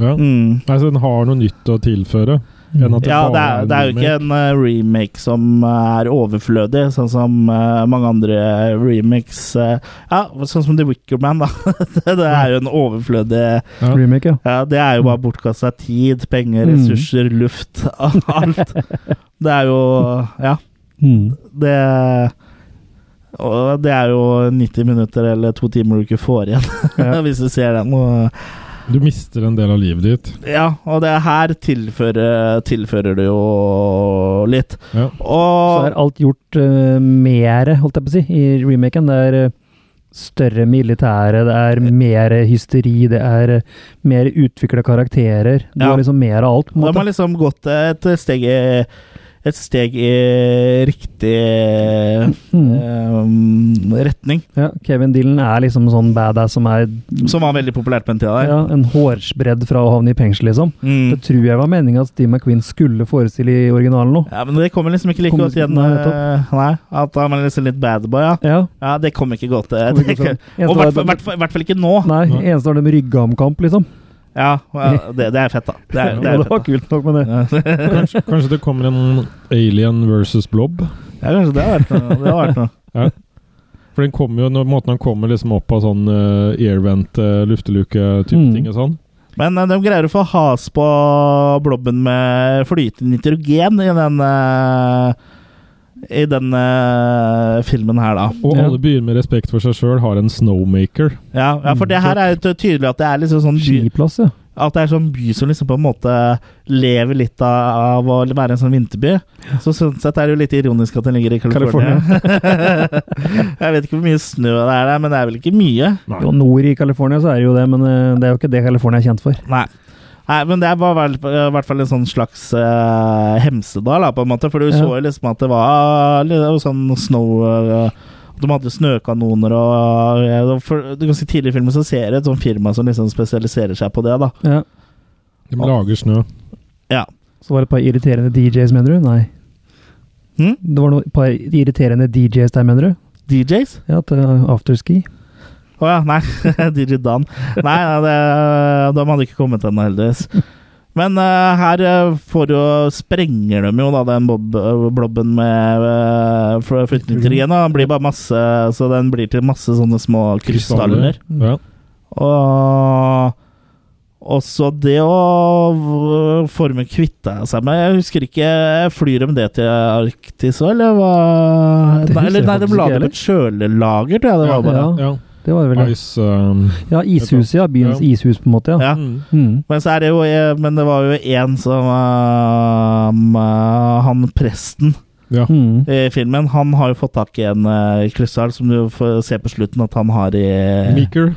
Speaker 2: Ja.
Speaker 1: Mm.
Speaker 2: Nei, så den har noe nytt å tilføre.
Speaker 3: Mm.
Speaker 2: Enn at det
Speaker 1: Ja, det
Speaker 2: bare
Speaker 1: er, det er jo ikke en eh, remake som eh, er overflødig, sånn som eh, mange andre remakes eh, Ja, sånn som The Wicker Man, da. det det er jo en overflødig
Speaker 2: Ja.
Speaker 3: Remake, ja.
Speaker 1: ja, Det er jo bare bortkasta tid, penger,
Speaker 3: Mm.
Speaker 1: ressurser, luft. Alt. Det er jo Ja.
Speaker 3: Mm.
Speaker 1: Det og det er jo 90 minutter eller to timer du ikke får igjen,
Speaker 3: Ja.
Speaker 1: hvis du ser den. Og,
Speaker 2: Du mister en del av livet ditt.
Speaker 1: ja, og det her tilfører, tilfører det jo litt.
Speaker 2: Ja.
Speaker 3: Så
Speaker 1: Og
Speaker 3: er alt gjort uh, mere, holdt jeg på å si, i remaken. Det er eh, større militære, det er mer hysteri, det er eh, mer utvikla karakterer. Du
Speaker 1: Ja.
Speaker 3: har liksom mer av alt, på en
Speaker 1: de har
Speaker 3: måte.
Speaker 1: liksom gått et steg i et steg i riktig
Speaker 3: Mm.
Speaker 1: eh, retning.
Speaker 3: Ja, Kevin Dillon er liksom sånn badass som er
Speaker 1: Som var veldig populært på den tida. der.
Speaker 3: ja, en hårsbredd fra å havne i fengsel, liksom.
Speaker 1: Mm.
Speaker 3: Det tror jeg var meninga at Steve McQueen skulle forestille i originalen nå.
Speaker 1: Ja, men det kommer liksom ikke like
Speaker 3: Kommer
Speaker 1: godt igjen.
Speaker 3: ikke- nei,
Speaker 1: eh, Nei, at han er liksom litt bad boy, ja.
Speaker 3: Ja.
Speaker 1: Ja, det kommer ikke godt. eh,
Speaker 3: Kommer
Speaker 1: Det,
Speaker 3: ikke godt
Speaker 1: og
Speaker 3: igjen.
Speaker 1: i hvert fall- hvert fall- hvert fall ikke nå.
Speaker 3: Nei, eneste var det med ryggamkamp, liksom.
Speaker 1: Ja, ja, det, det er fett, da. Det er, det
Speaker 3: Ja,
Speaker 1: er
Speaker 3: det var
Speaker 1: fett,
Speaker 3: kult nok med det.
Speaker 1: da.
Speaker 2: Kanskje, kanskje det kommer en Alien versus Blob?
Speaker 1: Ja, kanskje det har vært noe. Det har vært noe.
Speaker 2: Ja. For den kommer jo, når måten han kommer liksom opp av sånn eh, airvent, eh, lufteluke-type
Speaker 3: Mm.
Speaker 2: ting og sånn.
Speaker 1: Men eh, de greier å få has på blobben med flytende nitrogen i den eh, I den eh, filmen her, da.
Speaker 2: Og
Speaker 3: Ja.
Speaker 2: alle byer med respekt for seg sjøl har en snowmaker.
Speaker 1: Ja, ja, for det her er jo ty- tydelig at det er liksom sånn by,
Speaker 3: Skiplass, ja.
Speaker 1: At det er sånn by som liksom på en måte lever litt av, av å være en sånn vinterby. Så sånn sett er det jo litt ironisk at den ligger i California. jeg vet ikke hvor mye snø det er der, men det er vel ikke mye.
Speaker 3: Jo, nord i California så er det jo det, men eh, det er jo ikke det California er kjent for.
Speaker 1: Nei. Nei, men det var vel- i hvert fall en sånn slags eh, hemsedal, da, på en måte. For du
Speaker 3: Ja.
Speaker 1: så jo liksom at det var litt av sånn snow eh, De hadde snøkanoner og eh, det var for, det er Ganske tidlig i filmen så ser jeg et sånt firma som liksom spesialiserer seg på det, da.
Speaker 3: Ja.
Speaker 2: De lager snø.
Speaker 1: Ja.
Speaker 3: Så var det et par irriterende DJs, mener du? Nei.
Speaker 1: Hm?
Speaker 3: Det var noe- et par irriterende DJs der, mener du?
Speaker 1: DJs?
Speaker 3: Ja, til afterski.
Speaker 1: Å ja, nei. DJ Dan. Nei, nei, det, de hadde ikke kommet ennå, heldigvis. Men eh, her eh, får jo sprenger de jo da den bob, eh, blobben med uh, flyktningtrigen. Den blir bare masse Så den blir til masse sånne små krystaller.
Speaker 2: Ja.
Speaker 1: Og også det å eh, forme kvitte seg med Jeg husker ikke Flyr de det til Arktis òg, eller hva?
Speaker 3: Det
Speaker 1: Nei,
Speaker 3: husker jeg
Speaker 1: eller, nei, de
Speaker 3: faktisk
Speaker 1: la det
Speaker 3: ikke
Speaker 1: på et kjølelager, tror jeg det var. bare
Speaker 3: Ja.
Speaker 2: ja.
Speaker 3: Det var det vel det.
Speaker 2: Ice, um,
Speaker 3: Ja, ishuset, ja. Byens
Speaker 2: Ja.
Speaker 3: ishus, på en måte.
Speaker 1: Ja.
Speaker 3: ja.
Speaker 2: mm.
Speaker 3: Mm.
Speaker 1: Men, så er det, jo, eh, men det var jo en som ehm, eh, Han presten
Speaker 2: ja.
Speaker 3: Mm.
Speaker 1: i filmen, han har jo fått tak i en uh, krystall som du får se på slutten at han har i
Speaker 2: Meeker.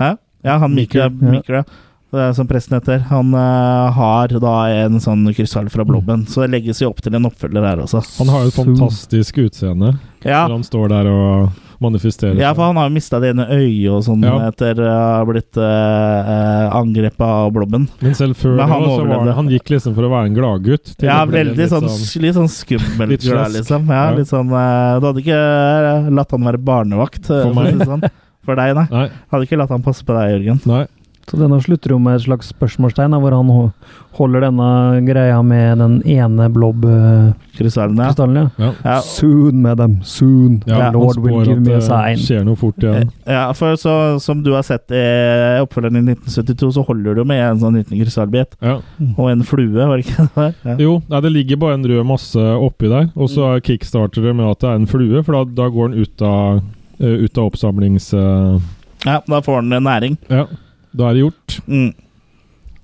Speaker 1: Hæ? Ja, han Mikkel,
Speaker 3: Mikkel, ja.
Speaker 1: Mikkel, ja. Det er som presten heter. Han eh, har da en sånn krystall fra blobben, så det legges jo opp til en oppfølger her også.
Speaker 2: Han har jo et
Speaker 3: Så-
Speaker 2: fantastisk utseende
Speaker 1: Ja,
Speaker 2: når han står der og manifesterer.
Speaker 1: ja
Speaker 2: seg.
Speaker 1: for han har jo mista det ene øyet og sånn
Speaker 2: Ja.
Speaker 1: etter å ha blitt uh, angrepet av blobben.
Speaker 2: Men selv før
Speaker 1: Men
Speaker 2: det,
Speaker 1: han
Speaker 2: også, så var
Speaker 1: overlevde.
Speaker 2: det, han gikk liksom for å være en gladgutt. til
Speaker 1: Ja,
Speaker 2: å bli
Speaker 1: veldig
Speaker 2: litt
Speaker 1: sånn, litt sånn skummelt,
Speaker 2: Litt
Speaker 1: tror jeg,
Speaker 2: slask.
Speaker 1: liksom. Ja,
Speaker 2: Ja.
Speaker 1: litt sånn, eh, du hadde ikke eh, latt han være barnevakt. eh,
Speaker 2: For
Speaker 1: å si
Speaker 2: meg.
Speaker 1: det Sånn. For deg, nei.
Speaker 2: Nei,
Speaker 1: Hadde ikke latt han passe på deg, Jørgen.
Speaker 2: nei.
Speaker 3: Så denne slutter jo med et slags spørsmålstegn, da, hvor han ho- holder denne greia med den ene blob-krystallen.
Speaker 1: Krystallen, ja.
Speaker 3: ja.
Speaker 2: Ja.
Speaker 1: Ja,
Speaker 3: Soon, madam, soon.
Speaker 2: Ja,
Speaker 3: The
Speaker 2: han
Speaker 3: Lord will
Speaker 2: spår at
Speaker 3: give
Speaker 2: eh,
Speaker 3: me a
Speaker 2: det
Speaker 3: sign.
Speaker 2: skjer noe fort igjen.
Speaker 1: Ja, for så, som du har sett i oppfølgeren i 1972, så holder du med en sånn liten krystallbit
Speaker 2: Ja.
Speaker 1: og en flue, var det ikke det? var? Ja.
Speaker 2: Jo, nei, det ligger bare en rød masse oppi der, og
Speaker 1: Mm.
Speaker 2: så er kickstarter det med at det er en flue, for da, da går den ut av, eh, ut av oppsamlings... eh,
Speaker 1: ja, da får den næring.
Speaker 2: ja, da er det gjort.
Speaker 1: Mm.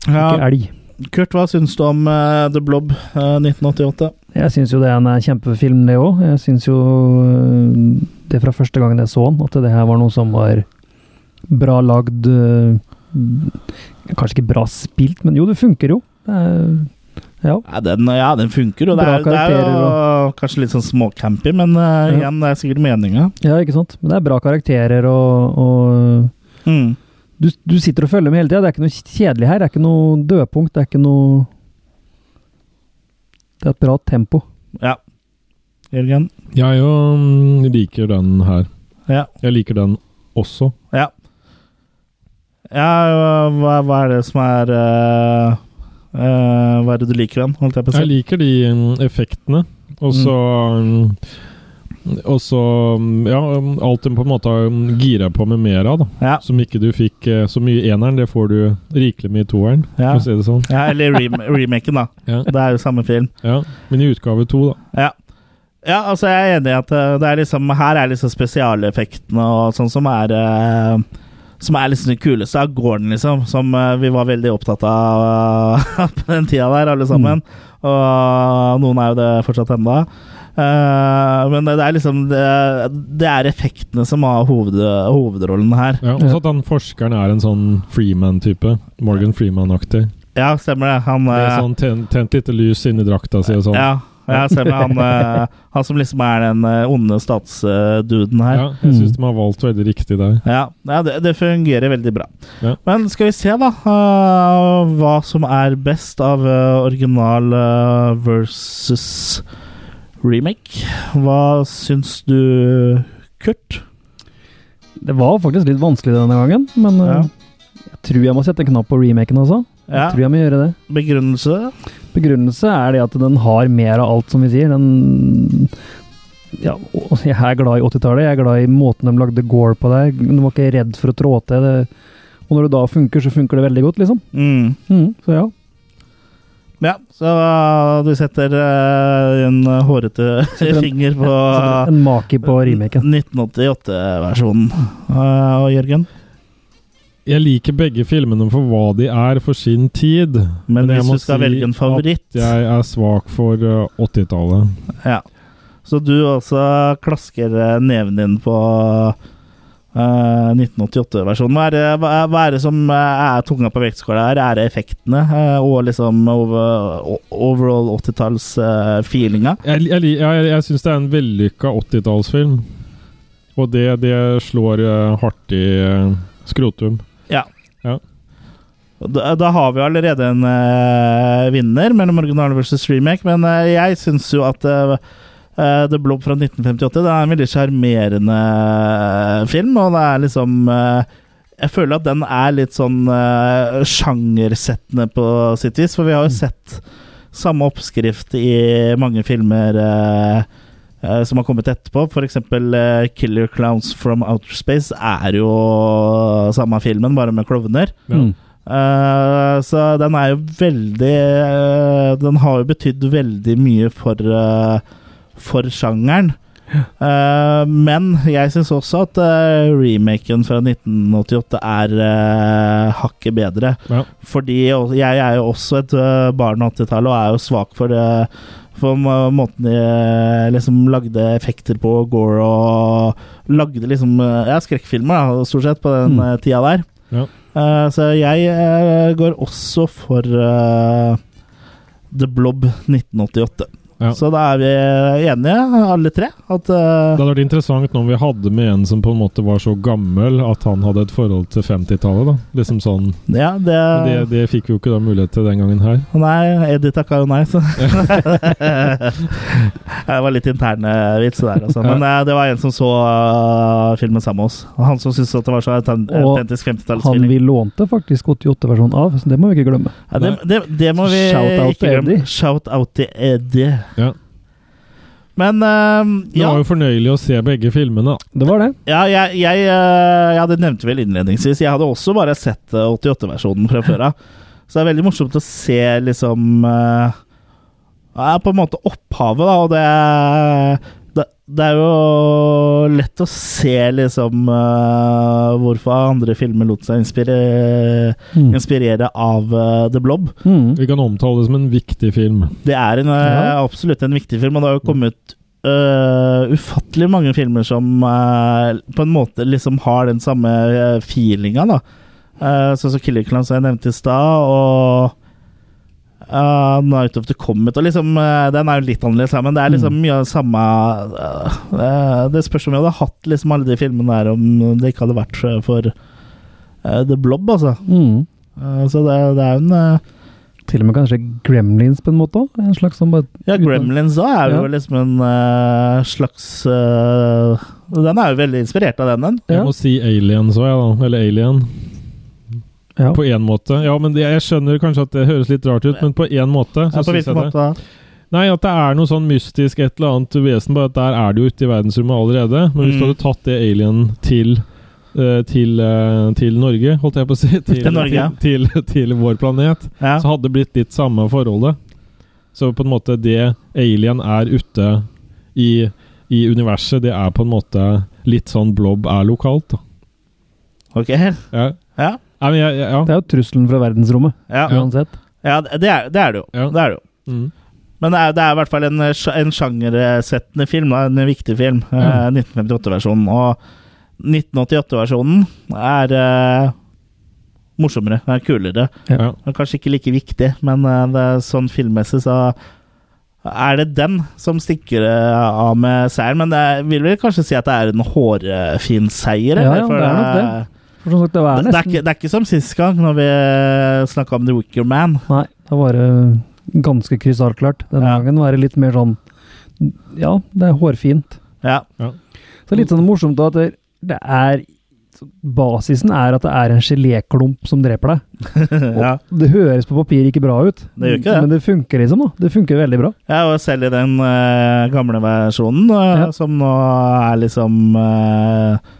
Speaker 3: Ikke
Speaker 1: Ja,
Speaker 3: elg.
Speaker 1: Kurt, hva syns du om eh, The Blob eh, 1988?
Speaker 3: Jeg syns jo det er en eh, kjempefilm, det òg. Jeg syns jo eh, det fra første gangen jeg så den, at det her var noe som var bra lagd eh, Kanskje ikke bra spilt, men jo, det funker jo. Det er- Ja.
Speaker 1: Ja, den, ja, den funker, og det
Speaker 3: Bra
Speaker 1: er, det er jo
Speaker 3: karakterer
Speaker 1: kanskje litt sånn småcampy, men eh,
Speaker 3: Ja.
Speaker 1: igjen, det er sikkert meninga.
Speaker 3: ja, ikke sant? Men det er bra karakterer, og, og
Speaker 1: Mm.
Speaker 3: du, du sitter og følger med hele tida. Det er ikke noe kjedelig her. Det er ikke noe dødpunkt. Det er ikke noe Det er et bra tempo.
Speaker 1: Ja. Jørgen?
Speaker 2: Jeg jo mm, liker den her.
Speaker 1: Ja.
Speaker 2: Jeg liker den også.
Speaker 1: Ja. ja hva, hva er det som er eh, eh, Hva er det du liker den, holdt jeg på å
Speaker 2: Jeg
Speaker 1: si?
Speaker 2: liker de mm, effektene, og så mm, Og så mm, Ja, mm, alt den på en måte har mm, gira på med mer av, da.
Speaker 1: Ja.
Speaker 2: Som ikke du fikk eh, så mye i eneren, det får du rikelig med i toeren,
Speaker 1: Ja.
Speaker 2: for å si det sånn.
Speaker 1: Ja, eller rem remaken, da.
Speaker 2: Ja.
Speaker 1: Det er jo samme film.
Speaker 2: Ja. Men i utgave to, da.
Speaker 1: Ja. ja, altså jeg er enig i at eh, det er liksom, her er liksom spesialeffektene og sånn som er eh, Som er liksom det kuleste av gården, liksom. Som eh, vi var veldig opptatt av eh, på den tida der, alle sammen. Og noen er jo det fortsatt ennå. Eh, men det, det er liksom det, det er effektene som har hoved, hovedrollen her.
Speaker 2: Ja, også at han forskeren er en sånn Freeman-type. Morgan Freeman-aktig.
Speaker 1: Ja, stemmer det. Han
Speaker 2: Med
Speaker 1: eh,
Speaker 2: sånn tent, tent lite lys inni drakta si og sånn.
Speaker 1: Ja, Jeg ser med han, eh, han som liksom er den eh, onde statsduden her.
Speaker 2: Ja, jeg syns de har valgt veldig riktig der.
Speaker 1: Ja, ja det, det fungerer veldig bra.
Speaker 2: Ja.
Speaker 1: Men skal vi se, da, eh, hva som er best av eh, original eh, versus remake. Hva syns du, Kurt?
Speaker 3: Det var faktisk litt vanskelig denne gangen, men eh, jeg tror jeg må sette en knapp på remaken også.
Speaker 1: Ja.
Speaker 3: Jeg tror jeg må gjøre det.
Speaker 1: Begrunnelse?
Speaker 3: Begrunnelse er det at den har mer av alt, som vi sier. Den ja, og jeg er glad i 80-tallet. Jeg er glad i måten de lagde gore på der. De var ikke redd for å trå til. Det. Og når det da funker, så funker det veldig godt, liksom.
Speaker 1: Mm.
Speaker 3: Mm, så ja.
Speaker 1: Ja, så eh, du setter eh, en hårete
Speaker 3: Setter en-
Speaker 1: finger på
Speaker 3: Så En maki på remaken.
Speaker 1: 1988-versjonen. Eh, og Jørgen?
Speaker 2: Jeg liker begge filmene for hva de er for sin tid.
Speaker 1: Men
Speaker 2: jeg
Speaker 1: hvis
Speaker 2: må
Speaker 1: du skal velge en favoritt?
Speaker 2: At jeg er svak for uh, 80-tallet.
Speaker 1: Ja. Så du også klasker eh, neven din på eh, 1988-versjonen. Hva, er det- hva, er- hva er det som eh, er tunga på vektskåla her? Er det effektene eh, og liksom over, o- overall eh, 80-talls-feelinga?
Speaker 2: Jeg, jeg, li- jeg, jeg syns det er en vellykka 80-tallsfilm. Og det, det slår uh, hardt i uh, skrotum.
Speaker 1: ja.
Speaker 2: Ja.
Speaker 1: Da, da har vi allerede en eh, vinner mellom original versus remake, men eh, jeg syns jo at eh, eh, The Blob fra 1958 det er en veldig sjarmerende eh, film, og det er liksom eh, Jeg føler at den er litt sånn eh, sjangersettende på sitt vis, for vi har jo sett samme oppskrift i mange filmer eh, eh, som har kommet etterpå. F.eks. Uh, 'Killer Clowns from Outer Space' er jo samme filmen, bare med klovner.
Speaker 2: Mm.
Speaker 1: Eh, så den er jo veldig eh, Den har jo betydd veldig mye for, eh, for sjangeren. Eh, men jeg syns også at eh, remaken fra 1988 er eh, hakket bedre.
Speaker 2: Ja.
Speaker 1: Fordi jeg jeg er jo også et eh, barn av 80-tallet og er jo svak for, eh, for må- måten de eh, liksom lagde effekter på, Gore og Lagde liksom eh, ja, skrekkfilmer, da, stort sett, på den eh, tida der.
Speaker 2: Mm. Ja.
Speaker 1: Eh, så jeg eh, går også for eh, The Blob 1988.
Speaker 2: Ja.
Speaker 1: Så da er vi enige, alle tre, at eh,
Speaker 2: Det hadde vært interessant nå om vi hadde med en som på en måte var så gammel at han hadde et forhold til 50-tallet. da. Liksom sånn.
Speaker 1: Ja, det,
Speaker 2: Men Det, det fikk vi jo ikke da mulighet til den gangen her.
Speaker 1: Nei, Eddie takka jo nei, så Det var litt interne vits der, altså. Men eh, det var en som så eh, filmen sammen med oss. Og Han som syntes at det var så autent-
Speaker 3: Og
Speaker 1: autentisk
Speaker 3: Han
Speaker 1: 50-tallsfilm.
Speaker 3: vi lånte faktisk 88-versjonen av, så det må vi ikke glemme.
Speaker 1: Ja, det, det, det må vi
Speaker 3: Shout out
Speaker 1: ikke
Speaker 3: til
Speaker 1: glemme.
Speaker 3: Eddie.
Speaker 1: Shout out til Eddie.
Speaker 2: Ja.
Speaker 1: Men eh,
Speaker 2: Det
Speaker 1: ja.
Speaker 2: var jo fornøyelig å se begge filmene. da.
Speaker 3: Det var det.
Speaker 1: Ja, jeg, jeg, eh, ja, det nevnte vel innledningsvis. Jeg hadde også bare sett eh, 88-versjonen fra før av. Så det er veldig morsomt å se liksom eh, ja, På en måte opphavet, da, og det er, det, det er jo lett å se liksom eh, hvorfor andre filmer lot seg inspirere,
Speaker 3: Mm.
Speaker 1: inspirere av eh, The Blob.
Speaker 3: Mm.
Speaker 2: Vi kan omtale det som en viktig film.
Speaker 1: Det er en, eh, absolutt en viktig film, og det har jo kommet eh, ufattelig mange filmer som eh, på en måte liksom har den samme eh, feelinga, da. Eh, sånn som Killer Clown, som jeg nevnte i stad, og eh, Night of the Comet. Og liksom, eh, den er jo litt annerledes, her, men det er liksom mye av det samme eh, Det spørs om vi hadde hatt liksom alle de filmene der om det ikke hadde vært for eh, The Blob, altså.
Speaker 3: Mm.
Speaker 1: Eh, så det, det er jo en eh,
Speaker 3: Til og med kanskje Gremlins på en måte òg. En slags som bare
Speaker 1: Ja, Gremlins da er jo
Speaker 3: Ja.
Speaker 1: liksom en eh, slags eh, Den er jo veldig inspirert av den, den.
Speaker 2: Jeg
Speaker 3: Ja.
Speaker 2: må si Alien, så jeg, da. Eller Alien.
Speaker 3: Ja.
Speaker 2: På én måte. Ja, men det, jeg skjønner kanskje at det høres litt rart ut, men på én måte.
Speaker 1: Ja,
Speaker 2: Så
Speaker 1: på
Speaker 2: synes
Speaker 1: hvilken
Speaker 2: jeg det.
Speaker 1: måte da?
Speaker 2: Nei, at det er noe sånn mystisk et eller annet vesen, bare at der er det jo ute i verdensrommet allerede. Men hvis
Speaker 1: Mm.
Speaker 2: du hadde tatt det alien til eh, til, eh, til Norge, holdt jeg på å si. Til,
Speaker 1: Til Norge, ja.
Speaker 2: til, til, til vår planet.
Speaker 1: Ja.
Speaker 2: Så hadde det blitt litt samme forholdet. Så på en måte det alien er ute i, i universet, det er på en måte litt sånn blob er lokalt, da.
Speaker 1: Ok.
Speaker 2: Ja.
Speaker 1: Ja.
Speaker 2: Nei, men jeg, jeg, ja.
Speaker 3: Det er jo trusselen fra verdensrommet,
Speaker 1: Ja,
Speaker 3: uansett.
Speaker 1: ja det, er, det er det jo.
Speaker 2: Ja.
Speaker 1: Det er det jo.
Speaker 2: Mm.
Speaker 1: Men det er, det er i hvert fall en, sj- en sjangersettende film, da, en viktig film.
Speaker 3: Mm.
Speaker 1: eh, 1958-versjonen. Og 1988-versjonen er eh, morsommere, er kulere.
Speaker 2: Ja.
Speaker 1: Den er Kanskje ikke like viktig, men eh, det er sånn filmmessig så er det den som stikker eh, av med seieren? Men jeg vil vel kanskje si at det er en hårfin seier?
Speaker 3: Ja,
Speaker 1: eller?
Speaker 3: ja,
Speaker 1: For
Speaker 3: det er nok det. For som sagt, det var
Speaker 1: det, det, er ikke,
Speaker 3: nesten
Speaker 1: det er ikke som sist gang, når vi snakka om The Wicker Man.
Speaker 3: Nei, det var det ganske krystallklart. Denne gangen var det litt mer sånn Ja, det er hårfint.
Speaker 1: Ja.
Speaker 2: Ja.
Speaker 3: Så litt sånn morsomt da, at det, det er Basisen er at det er en geléklump som dreper deg.
Speaker 1: Ja.
Speaker 3: Og det høres på papir ikke bra ut,
Speaker 1: Det gjør ikke det.
Speaker 3: men det funker liksom. da. Det funker veldig bra.
Speaker 1: Ja, og selv i den eh, gamle versjonen, eh, som nå er liksom eh,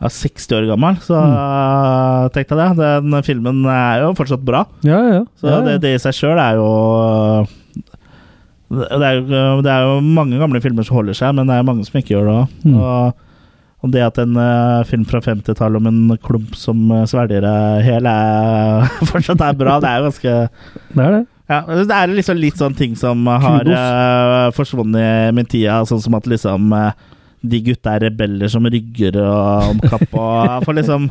Speaker 1: ja, 60 år gammel, så
Speaker 3: Mm.
Speaker 1: eh, tenkte jeg det. Den filmen er jo fortsatt bra.
Speaker 3: Ja, ja, ja.
Speaker 1: Så
Speaker 3: ja, ja.
Speaker 1: Det, det i seg sjøl er jo eh, det er, jo- det er jo mange gamle filmer som holder seg, men det er mange som ikke gjør det òg.
Speaker 3: Mm.
Speaker 1: Og, og det at en eh, film fra 50-tallet om en klump som eh, svelger deg hel, er fortsatt er bra. Det er jo ganske
Speaker 3: Det er det.
Speaker 1: ja, men Det er liksom litt sånn ting som har
Speaker 3: Kudos.
Speaker 1: eh, forsvunnet med tida, sånn som at liksom eh, de gutta er rebeller som rygger og omkapp og For liksom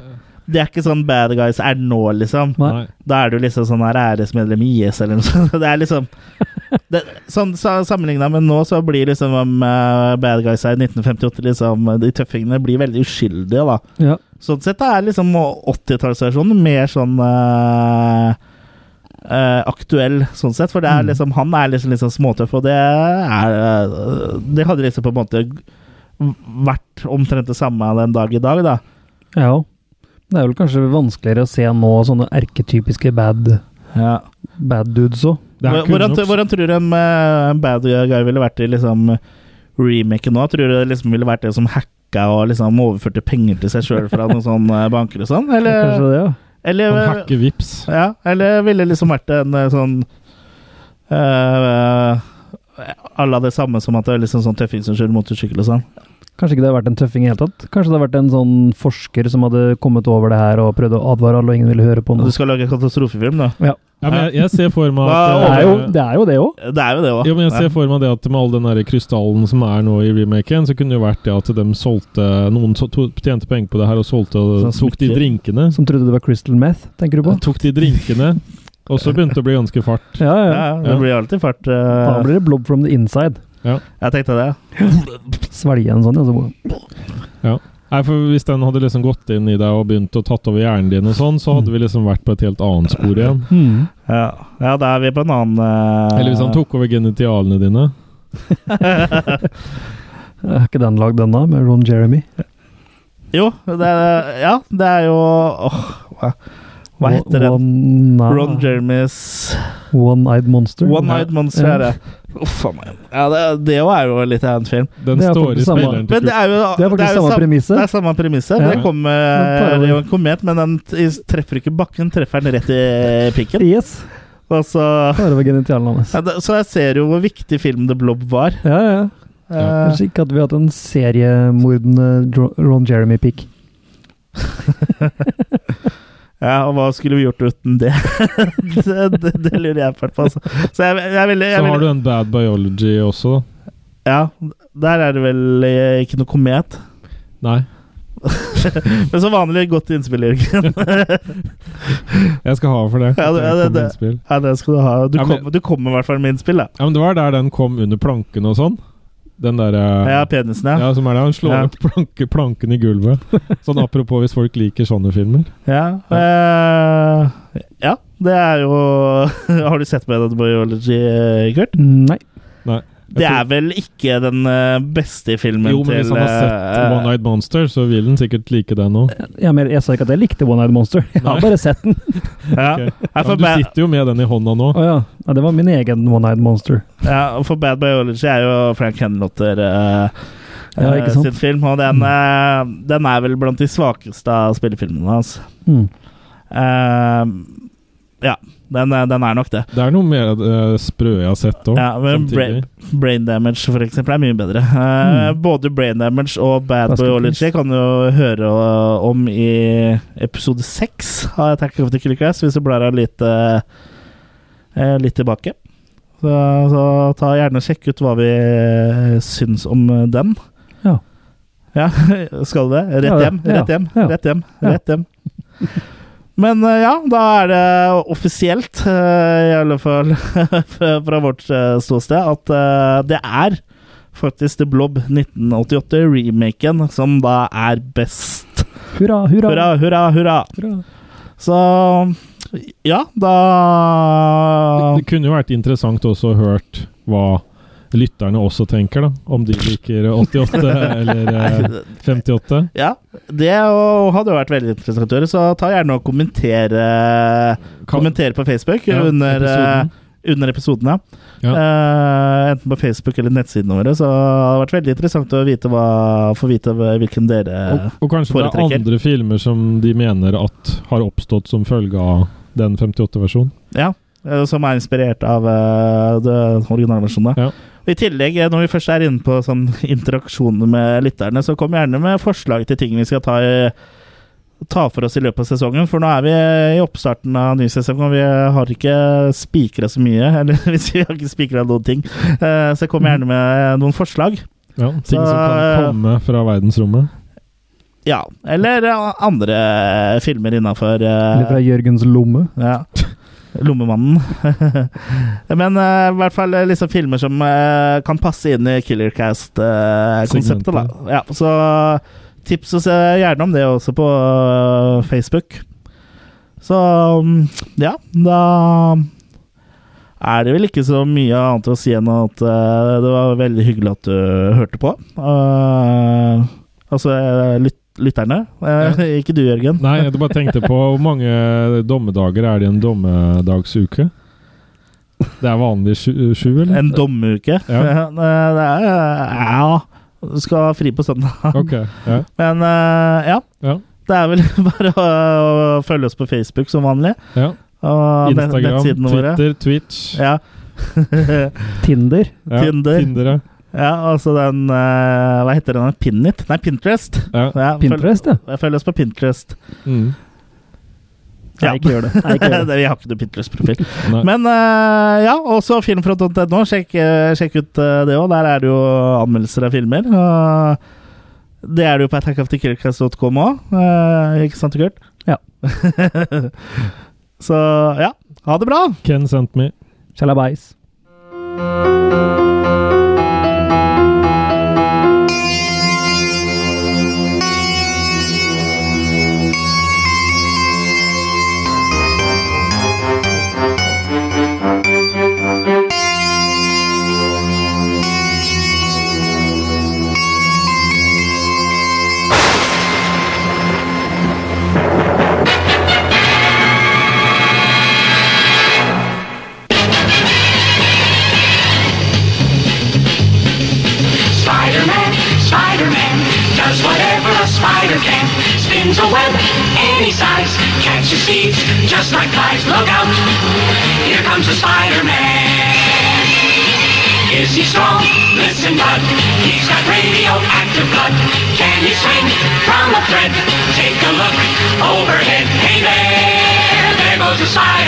Speaker 1: Det er ikke sånn bad guys er nå, liksom.
Speaker 3: Nei.
Speaker 1: Da er du liksom sånn her æresmedlem i IS eller noe sånt. Det er liksom det, sånn, så, Sammenligna med nå, så blir liksom um, eh, bad guys her i 1958 liksom, De tøffingene blir veldig uskyldige, da.
Speaker 3: Ja.
Speaker 1: Sånn sett er liksom 80-tallsversjonen mer sånn eh, eh, aktuell, sånn sett. For det er liksom, han er liksom litt sånn småtøff, og det er eh, Det hadde liksom på en måte vært omtrent det samme den dag i dag, da.
Speaker 3: ja. Det er vel kanskje vanskeligere å se nå sånne erketypiske bad, bad dudes òg.
Speaker 1: Hvor- Hvordan, hvordan tror du en eh, bad guy ville vært i liksom remaken nå? Tror du det liksom ville vært det som hacka og liksom overførte penger til seg sjøl fra noen sånne banker og sånn? Eller,
Speaker 3: Kanskje det, ja.
Speaker 1: eller,
Speaker 2: Han hacker vips.
Speaker 1: Ja, eller ville det liksom vært en eh, sånn eh, Alle av det samme som at det er liksom sånn tøffing som kjører motorsykkel og sånn.
Speaker 3: Kanskje ikke det hadde vært en tøffing i det hele tatt? Kanskje det hadde vært en sånn forsker som hadde kommet over det her og prøvd å advare alle, og ingen ville høre på
Speaker 1: Og
Speaker 3: noe?
Speaker 1: du skal lage katastrofefilm, da?
Speaker 3: Ja.
Speaker 2: Ja, men jeg, jeg ser for meg
Speaker 1: Hva-
Speaker 2: at
Speaker 3: Det er jo
Speaker 2: eh,
Speaker 3: det, er jo det òg.
Speaker 1: Det er jo det òg.
Speaker 2: Jo, men jeg ser for meg det at med all den der krystallen som er nå i remaken, så kunne det jo vært det at de solgte Noen so to tjente penger på det her og solgte og
Speaker 1: Sånn
Speaker 2: tok de
Speaker 1: smykker.
Speaker 2: drinkene.
Speaker 3: Som trodde det var Crystal Meth, tenker du på?
Speaker 2: Tok de drinkene, og så begynte det å bli ganske fart.
Speaker 3: Ja, ja.
Speaker 1: Ja, det blir alltid fart.
Speaker 3: Da
Speaker 1: eh,
Speaker 3: blir det blob from the inside.
Speaker 2: Ja.
Speaker 1: Jeg tenkte det.
Speaker 3: Svelge en sånn, ja. Så bare-
Speaker 2: ja. Nei, for Hvis den hadde liksom gått inn i deg og begynt å tatt over hjernen din, og sånn, så hadde vi liksom vært på et helt annet spor igjen.
Speaker 3: hmm.
Speaker 1: Ja, ja da er vi på en annen eh,
Speaker 2: Eller hvis han tok over genitialene dine.
Speaker 3: Er ikke den lagd ennå, med Ron Jeremy?
Speaker 1: Jo, det er, ja, det er jo åh, hva, hva heter den?
Speaker 3: One, nei,
Speaker 1: Ron Jeremys
Speaker 3: One-Eyed Monster?
Speaker 1: One-Eyed Monster.
Speaker 3: Ja.
Speaker 1: er det. Uff a meg. Ja, det, det jo er jo litt av en film.
Speaker 2: Den
Speaker 3: Det er
Speaker 2: står
Speaker 3: faktisk
Speaker 2: i
Speaker 3: samme.
Speaker 2: speileren til
Speaker 1: Men det
Speaker 2: Kurt.
Speaker 1: er jo
Speaker 3: Det er faktisk
Speaker 1: jo
Speaker 3: samme
Speaker 1: sam-
Speaker 3: premisset.
Speaker 1: Det er samme premisset.
Speaker 3: Ja.
Speaker 1: Det kommer
Speaker 3: Den tar
Speaker 1: eh,
Speaker 3: over.
Speaker 1: det er jo en komet, men den t- treffer ikke bakken, treffer den rett i pikken.
Speaker 3: Yes!
Speaker 1: Og så,
Speaker 3: Bare over genitalen hans.
Speaker 1: ja, det- så jeg ser jo hvor viktig film The Blob var.
Speaker 3: Ja, ja.
Speaker 1: Eh,
Speaker 3: Kanskje ikke at vi hadde en seriemordende Dro- Ron Jeremy-pikk.
Speaker 1: Ja, og hva skulle vi gjort uten det? det, det, det lurer jeg fælt på, altså. Så jeg, jeg ville jeg
Speaker 2: Så har
Speaker 1: ville-
Speaker 2: du den Bad Biology også, da.
Speaker 1: Ja, der er det vel eh, ikke noe komet.
Speaker 2: Nei.
Speaker 1: Men som vanlig, godt innspill, Jørgen.
Speaker 2: Jeg skal ha for det.
Speaker 1: Ja, det- ja, det-
Speaker 2: Kom med
Speaker 1: det-
Speaker 2: innspill.
Speaker 1: ja, det skal du ha. Du,
Speaker 2: Ja, men-
Speaker 1: kom, du kommer i hvert fall med innspill, da.
Speaker 2: Ja, men det var der den kom under planken og sånn. Den eh, derre
Speaker 1: Ja, penisen, ja.
Speaker 2: som er der. Han slår
Speaker 1: Ja.
Speaker 2: opp planke, planken i gulvet. Sånn apropos hvis folk liker sånne filmer.
Speaker 1: Ja, eh, ja det er jo Har du sett på Edit Biology, eh, Kurt?
Speaker 3: Nei.
Speaker 2: Nei.
Speaker 1: Det er vel ikke den eh, beste filmen
Speaker 2: jo, men hvis
Speaker 1: til
Speaker 2: han har sett
Speaker 1: eh,
Speaker 2: One Night Monster, så vil han sikkert like den òg.
Speaker 3: Jeg, mener, jeg sa ikke at jeg likte One Eyed Monster, jeg har
Speaker 2: Nei.
Speaker 3: bare sett den.
Speaker 1: ja. Ja, for
Speaker 2: du
Speaker 1: Ba-
Speaker 2: sitter jo med den i hånda nå.
Speaker 3: Å ja. ja. Det var min egen One Eyed Monster.
Speaker 1: Ja, for Bad Biology er jo Frank Henlotter eh,
Speaker 3: Ja,
Speaker 1: eh,
Speaker 3: ikke sant?
Speaker 1: sin film, og
Speaker 2: Mm.
Speaker 1: den, eh, den er vel blant de svakeste av spillefilmene hans.
Speaker 3: Mm.
Speaker 1: Eh, ja, den, er- den er nok det.
Speaker 2: Det er noe mer eh, sprø jeg har sett òg.
Speaker 1: Ja, men bra- Brain Damage for eksempel er mye bedre. Eh, Både Brain Damage og Bad
Speaker 3: Basket
Speaker 1: Biology
Speaker 3: Case.
Speaker 1: kan du jo høre eh, om i episode seks av Attack of the Killer Cast, hvis du blar deg litt, eh, eh, litt tilbake. Så, så ta gjerne og sjekk ut hva vi eh, syns om eh, den.
Speaker 3: Ja.
Speaker 1: Ja, skal du det?
Speaker 3: Ja,
Speaker 1: Rett
Speaker 3: ja.
Speaker 1: hjem, rett hjem,
Speaker 3: Ja.
Speaker 1: rett hjem.
Speaker 3: Ja.
Speaker 1: Rett hjem. Men eh, ja, da er det offisielt, eh, i alle fall fra fra vårt eh, ståsted, at eh, det er faktisk The Blob 1988-remaken som da er best.
Speaker 3: Hurra, hurra.
Speaker 1: Hurra, hurra, hurra.
Speaker 3: Hurra.
Speaker 1: Så ja, da
Speaker 2: Det kunne jo vært interessant også å hørt hva lytterne også tenker, da. Om de liker 88 eller eh, 58.
Speaker 1: Ja, det jo- hadde jo vært veldig interessant å gjøre, så ta gjerne og kommentere Kommenter på Facebook
Speaker 2: Ja,
Speaker 1: under, eh,
Speaker 2: episoden.
Speaker 1: under episoden. Ja. Eh, enten på Facebook eller nettsidene våre. Så det hadde vært veldig interessant å vite hva, få vite hvilken dere
Speaker 2: Og, og kanskje det er
Speaker 1: foretrekker.
Speaker 2: andre filmer som de mener at har oppstått som følge av den 58-versjonen.
Speaker 1: Ja, eh, som er inspirert av eh, det originalversjonen.
Speaker 2: Ja.
Speaker 1: Og I tillegg, eh, når vi først er inne på sånn interaksjoner med lytterne, så kom gjerne med forslag til ting vi skal ta, i- ta for oss i løpet av sesongen. For nå er vi eh, i oppstarten av ny sesong, og vi eh, har ikke spikra så mye. Eller hvis vi har ikke spikra noen ting. Eh, Så kom gjerne med noen forslag.
Speaker 2: Ja, ting som kan
Speaker 1: Så-
Speaker 2: komme fra verdensrommet.
Speaker 1: Ja, eller eh, andre eh, filmer eh, innafor
Speaker 3: Eller fra Jørgens lomme.
Speaker 1: Ja. Lommemannen. Men eh, i hvert fall eh, liksom filmer som eh, kan passe inn i Killercast-konseptet. da. ja, så tips oss eh, gjerne om det også på eh, Facebook. Så mm, ja, da er det vel ikke så mye annet å si enn at eh, det var veldig hyggelig at du hørte på. Eh, altså eh, lyt lytterne. Eh, Ikke du, Jørgen.
Speaker 2: Nei, jeg bare tenkte på hvor mange dommedager er det i en dommedagsuke? Det er vanlig sju, sju eller?
Speaker 1: En dommeuke.
Speaker 2: Ja.
Speaker 1: Ja. Det er eh, Ja. Du skal ha fri på søndag.
Speaker 2: Ok, ja.
Speaker 1: Men eh, ja.
Speaker 2: Ja.
Speaker 1: Det er vel bare å, å følge oss på Facebook som vanlig.
Speaker 2: ja.
Speaker 1: Og net-
Speaker 2: Instagram,
Speaker 1: nettsidene våre.
Speaker 2: Twitter, Twitch.
Speaker 1: Ja.
Speaker 3: Tinder.
Speaker 2: Ja,
Speaker 1: Tinder.
Speaker 2: Tinder, ja.
Speaker 1: ja, altså den eh, Hva heter den? Pinnit? Nei, Pinterest.
Speaker 2: Ja.
Speaker 1: følg-
Speaker 3: Pinterest, ja.
Speaker 1: Følg oss på Pinterest.
Speaker 2: Mm.
Speaker 1: Ja.
Speaker 3: Nei, ikke gjør det. Nei, ikke gjør det.
Speaker 1: Nei, Vi har ikke noe Pinterest-profil.
Speaker 2: Nei.
Speaker 1: Men eh, ja, også filmfront.no. Sjekk, eh, sjekk ut eh, det òg. Der er det jo anmeldelser av filmer. og det er det jo på attackofthekillcast.com òg. eh, ikke sant, Kurt?
Speaker 3: Ja.
Speaker 1: Så ja, ha det bra!
Speaker 2: Ken sent me.
Speaker 3: Shalabais.
Speaker 12: Spider-Man, Spider-Man, does whatever a spider can. Spins a web any size, catches thieves just like flies. Look out, here comes a Spider-Man. Is he strong? Listen, bud, he's got radioactive blood. Can he swing from a thread? Take a look overhead. Hey there, there goes a spider.